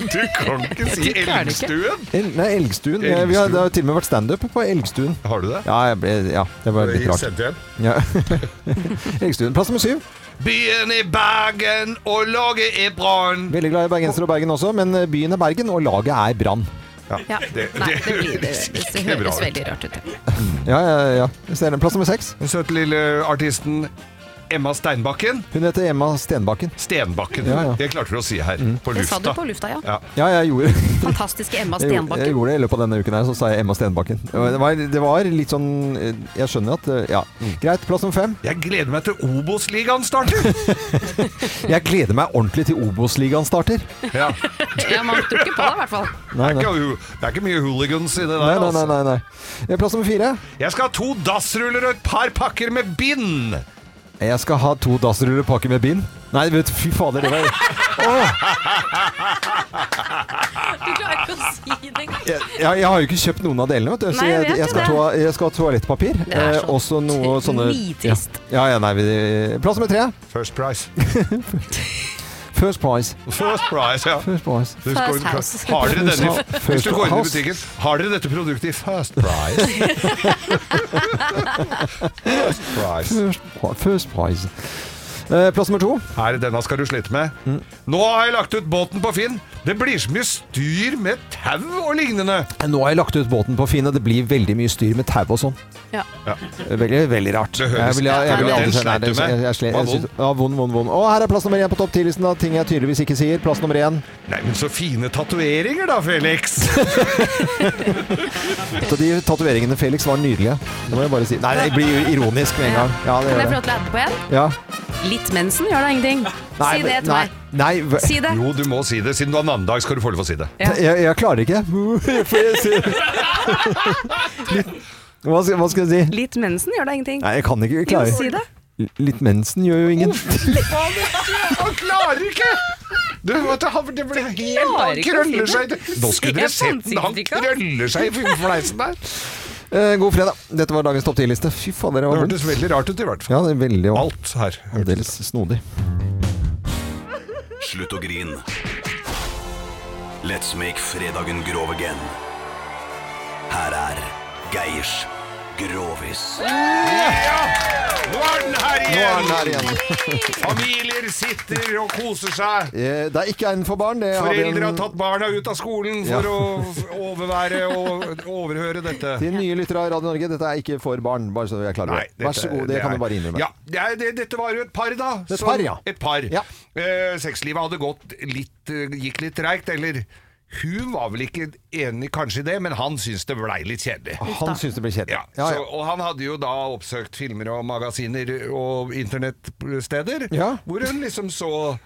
Speaker 2: Du kan ikke si Elgstuen!
Speaker 1: El, nei, Elgstuen. Eh, Vi har, det har til og med vært standup på Elgstuen.
Speaker 2: Har du det?
Speaker 1: Ja, jeg ble, ja, det var litt rart. Ja. Elgstuen. Plass nummer syv.
Speaker 2: Byen i Bergen og laget i Brann.
Speaker 1: Veldig glad i bergensere og Bergen også, men eh, byen er Bergen, og laget er Brann.
Speaker 5: Ja.
Speaker 2: det- det
Speaker 5: Nei, det, blir, det,
Speaker 2: høres
Speaker 5: det,
Speaker 2: ikke bra
Speaker 5: høres
Speaker 2: ut.
Speaker 5: veldig rart ut. ja.
Speaker 1: Ja, ja, ja. Jeg ser den. Plass nummer seks.
Speaker 2: Den søte lille artisten Emma Steinbakken.
Speaker 1: Hun heter Emma Stenbakken.
Speaker 2: Stenbakken.
Speaker 1: Ja, Mm. ja.
Speaker 2: Det klarte du å si her, på
Speaker 5: Det sa du
Speaker 2: lufta.
Speaker 5: på lufta, ja.
Speaker 2: Ja.
Speaker 1: Ja, jeg gjorde,
Speaker 5: Fantastiske Emma
Speaker 1: jeg, gjorde, jeg
Speaker 5: Stenbakken.
Speaker 1: gjorde det i løpet av denne uken her, så sa jeg Emma Stenbakken. Det var- Det var, det var litt sånn eh, Jeg skjønner at eh, Ja.
Speaker 2: Mm.
Speaker 1: Greit. Plass nummer fem.
Speaker 2: Jeg gleder meg til Obos-ligaen starter!
Speaker 1: Jeg gleder meg ordentlig til Obos-ligaen starter.
Speaker 2: ja.
Speaker 5: Ja, man tror ikke på det, i hvert fall.
Speaker 1: Nei,
Speaker 2: det, er ikke, hu- det er ikke mye hooligans i det der.
Speaker 1: Nei, nei, nei,
Speaker 2: altså.
Speaker 1: nei, nei. Eh, Plass nummer fire.
Speaker 2: Jeg skal ha to dassruller og et par pakker med bind!
Speaker 1: Jeg skal ha to dassruller pakke med bind. Nei, vet du, fy fader, det var Åh,
Speaker 5: Du klarer ikke å si det engang.
Speaker 1: jeg, jeg har jo ikke kjøpt noen av delene, vet du. Så
Speaker 5: Nei, jeg
Speaker 1: jeg,
Speaker 5: vet
Speaker 1: jeg,
Speaker 5: jo
Speaker 1: skal,
Speaker 5: det.
Speaker 1: ha toa- jeg skal ha toalettpapir.
Speaker 5: Det er
Speaker 1: eh,
Speaker 5: så
Speaker 1: Også noe sånne ja.
Speaker 5: nitrist.
Speaker 1: ja, ja, nei, vi, Plass nummer tre.
Speaker 2: First price.
Speaker 1: First prize.
Speaker 2: First price, ja.
Speaker 1: First prize.
Speaker 2: Du skal-
Speaker 5: First house.
Speaker 2: Har dere denne,
Speaker 1: First
Speaker 2: hvis du går inn i
Speaker 1: house.
Speaker 2: butikken, har dere dette produktet i First Price? first Price.
Speaker 1: First, pri- first prize. Eh, Plass nummer to.
Speaker 2: Her, denne skal du slite med. Nå har jeg lagt ut båten på Finn. Det blir så mye styr med tau og lignende.
Speaker 1: Nå har jeg lagt ut båten på Finn, og det blir veldig mye styr med tau og sånn.
Speaker 2: Ja.
Speaker 1: Veldig, veldig rart.
Speaker 2: Det
Speaker 1: jeg
Speaker 2: høres-
Speaker 1: vil, jeg, jeg, vil
Speaker 2: Ja, den
Speaker 1: aldri
Speaker 2: sleit du
Speaker 1: jeg, jeg,
Speaker 2: med.
Speaker 1: jeg, slet-
Speaker 2: Var
Speaker 1: jeg, synes- ja, vond, vond, vond. Og her er plass nummer én på topp 10-listen av ting jeg tydeligvis ikke sier. Plass nummer én.
Speaker 2: Nei, men så fine tatoveringer da, Felix.
Speaker 1: Så de tatoveringene Felix var nydelige. Det må jeg bare si. Nei, det blir jo ironisk med en gang. Ja, det
Speaker 5: Kan jeg
Speaker 1: gjør
Speaker 5: få
Speaker 1: det.
Speaker 5: lov til å adde på en?
Speaker 1: Ja.
Speaker 5: Litt mensen gjør da ingenting.
Speaker 1: Nei,
Speaker 5: si det til
Speaker 1: nei,
Speaker 5: meg.
Speaker 1: Nei, hva-
Speaker 5: Si det.
Speaker 2: Jo, du må si det. Siden du har navnedag, skal du få lov å si det.
Speaker 1: Jeg, jeg klarer ikke. For jeg sier Litt, hva, skal, hva skal jeg si?
Speaker 6: Litt mensen gjør da ingenting.
Speaker 1: Nei, jeg kan ikke jeg klarer.
Speaker 6: Jo, si det.
Speaker 1: Litt mensen gjør jo ingenting.
Speaker 2: Han klarer ikke! Du, vet du, han, det blir helt
Speaker 6: klarer
Speaker 2: Han
Speaker 6: ikke å si
Speaker 2: krøller seg
Speaker 6: det.
Speaker 2: i- Nå skulle dere
Speaker 6: Se
Speaker 2: sett den! Han krøller seg i fleisen der.
Speaker 1: Eh, god fredag. Dette var dagens topp 10-liste. Fy fader, det
Speaker 2: Det
Speaker 1: var
Speaker 2: hørtes
Speaker 1: vondt.
Speaker 2: veldig rart ut, i hvert fall.
Speaker 1: Ja, det er veldig vondt.
Speaker 2: Alt her.
Speaker 1: Aldeles snodig.
Speaker 12: Slutt å grine. Let's make fredagen grov again. Her er Geirs Grovis.
Speaker 2: Ja! Nå er den her
Speaker 1: Nå er den
Speaker 2: igjen!
Speaker 1: her igjen.
Speaker 2: Familier sitter og koser seg.
Speaker 1: Eh, Det er ikke egnet for barn. Det har vi
Speaker 2: Foreldre har
Speaker 1: en,
Speaker 2: tatt barna ut av skolen
Speaker 1: Ja.
Speaker 2: for å f- overvære og overhøre dette.
Speaker 1: til nye lyttere av Radio Norge. Dette er ikke for barn. Bare så vi er klare over
Speaker 2: Nei,
Speaker 1: det. Vær
Speaker 2: dette-
Speaker 1: så god, det,
Speaker 2: det
Speaker 1: kan
Speaker 2: er-
Speaker 1: du bare innrømme.
Speaker 2: Ja, det er, det, dette var jo et par, da.
Speaker 1: Et
Speaker 2: som-
Speaker 1: par, ja.
Speaker 2: Et par. Eh, sexlivet hadde gått litt, eh, gikk litt treigt, eller hun var vel ikke enig kanskje i det, men han syntes det blei litt kjedelig.
Speaker 1: Han syns det blir kjedelig.
Speaker 2: Ja, Så, og han hadde jo da oppsøkt filmer og magasiner og internettsteder,
Speaker 1: Ja.
Speaker 2: hvor hun liksom så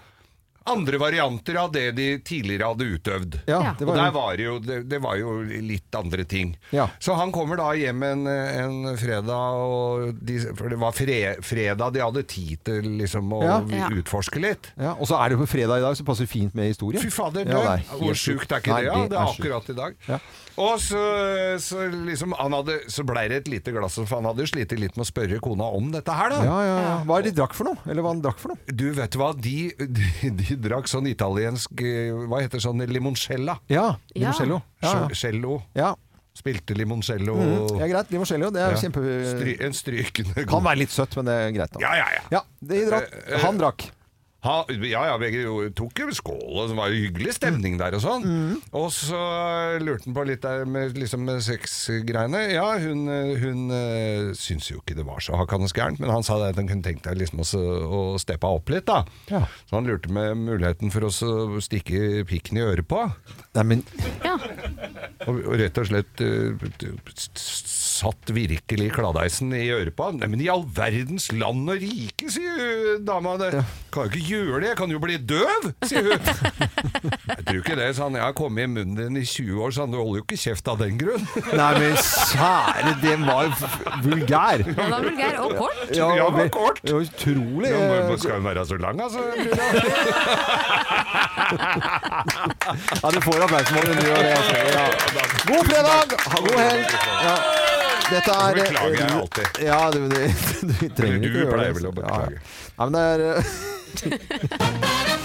Speaker 2: andre varianter av det de tidligere hadde utøvd.
Speaker 1: Ja, det var
Speaker 2: og der
Speaker 1: jo-
Speaker 2: var det jo, det, det var jo litt andre ting.
Speaker 1: Ja.
Speaker 2: Så han kommer da hjem en, en fredag, og de, for det var fre, fredag de hadde tid til liksom å
Speaker 1: Ja.
Speaker 2: vi-
Speaker 1: Ja.
Speaker 2: utforske litt.
Speaker 1: Ja, og så er det jo på fredag i dag, så passer det fint med historie.
Speaker 2: Fy fader,
Speaker 1: Ja,
Speaker 2: du,
Speaker 1: det er
Speaker 2: hvor
Speaker 1: helt
Speaker 2: sjukt er ikke
Speaker 1: Nei,
Speaker 2: det? Ja, det er
Speaker 1: sjukt.
Speaker 2: akkurat i dag.
Speaker 1: Ja.
Speaker 2: Og så, så liksom han hadde, så blei det et lite glass, for han hadde jo slitt litt med å spørre kona om dette her, da.
Speaker 1: Ja, ja, ja. Hva er det de drakk for noe? Eller hva han drakk for noe?
Speaker 2: Du vet du hva, de, de, de drakk sånn italiensk eh, Hva heter sånn limoncella?
Speaker 1: Ja, limoncello. Ja, ja.
Speaker 2: Sj- Cello. Spilte limoncello.
Speaker 1: Mm, ja, greit. Limoncello, det er
Speaker 2: Ja.
Speaker 1: kjempe...
Speaker 2: Stry, en strykende
Speaker 1: Kan være litt søtt, men det er greit. Da.
Speaker 2: Ja, ja, ja.
Speaker 1: de drakk.
Speaker 2: Eh, eh,
Speaker 1: Han drakk.
Speaker 2: Ha, ja, ja, begge jo- tok jo skål, og det var jo hyggelig stemning der og sånn. Og så lurte han på litt der med, liksom med sexgreiene. Ja, hun, eh, hun eh, syntes jo ikke det var så hakkende gærent, men han sa det at han kunne tenkt seg liksom å, s- å steppe opp litt, da.
Speaker 1: Ja.
Speaker 2: Så han lurte med muligheten for å s- stikke pikken i øret på.
Speaker 1: Nei, men
Speaker 2: Og, og rett og slett eh, t- s- satt virkelig kladeisen i øret på han. Nei, men i all verdens land og rike, sier hun, dama. Det. Kan jo ikke gjøre det, jeg kan jo bli døv, sier hun. jeg tror ikke det, sa han. Jeg har kommet i munnen din i 20 år, så han, du holder jo ikke kjeft av den grunn.
Speaker 1: Nei, men kjære, den var jo f- vulgær.
Speaker 5: Den var vulgær og kort.
Speaker 2: Ja, den var
Speaker 1: ve-
Speaker 2: kort.
Speaker 1: Ja, utrolig.
Speaker 2: Ja,
Speaker 1: eh,
Speaker 2: men skal den være så lang, altså?
Speaker 1: Ja, du får oppmerksomhet. når du gjør det, altså. Ja. God fredag! Ha god helg! Ja. Dette er
Speaker 2: Beklager jeg alltid.
Speaker 1: Ja, du, du, du trenger
Speaker 2: Eller
Speaker 1: ikke
Speaker 2: du
Speaker 1: å gjøre det.
Speaker 2: pleier vel å
Speaker 1: altså. Ja, ja.
Speaker 2: beklage.
Speaker 1: Nei, men det er eh,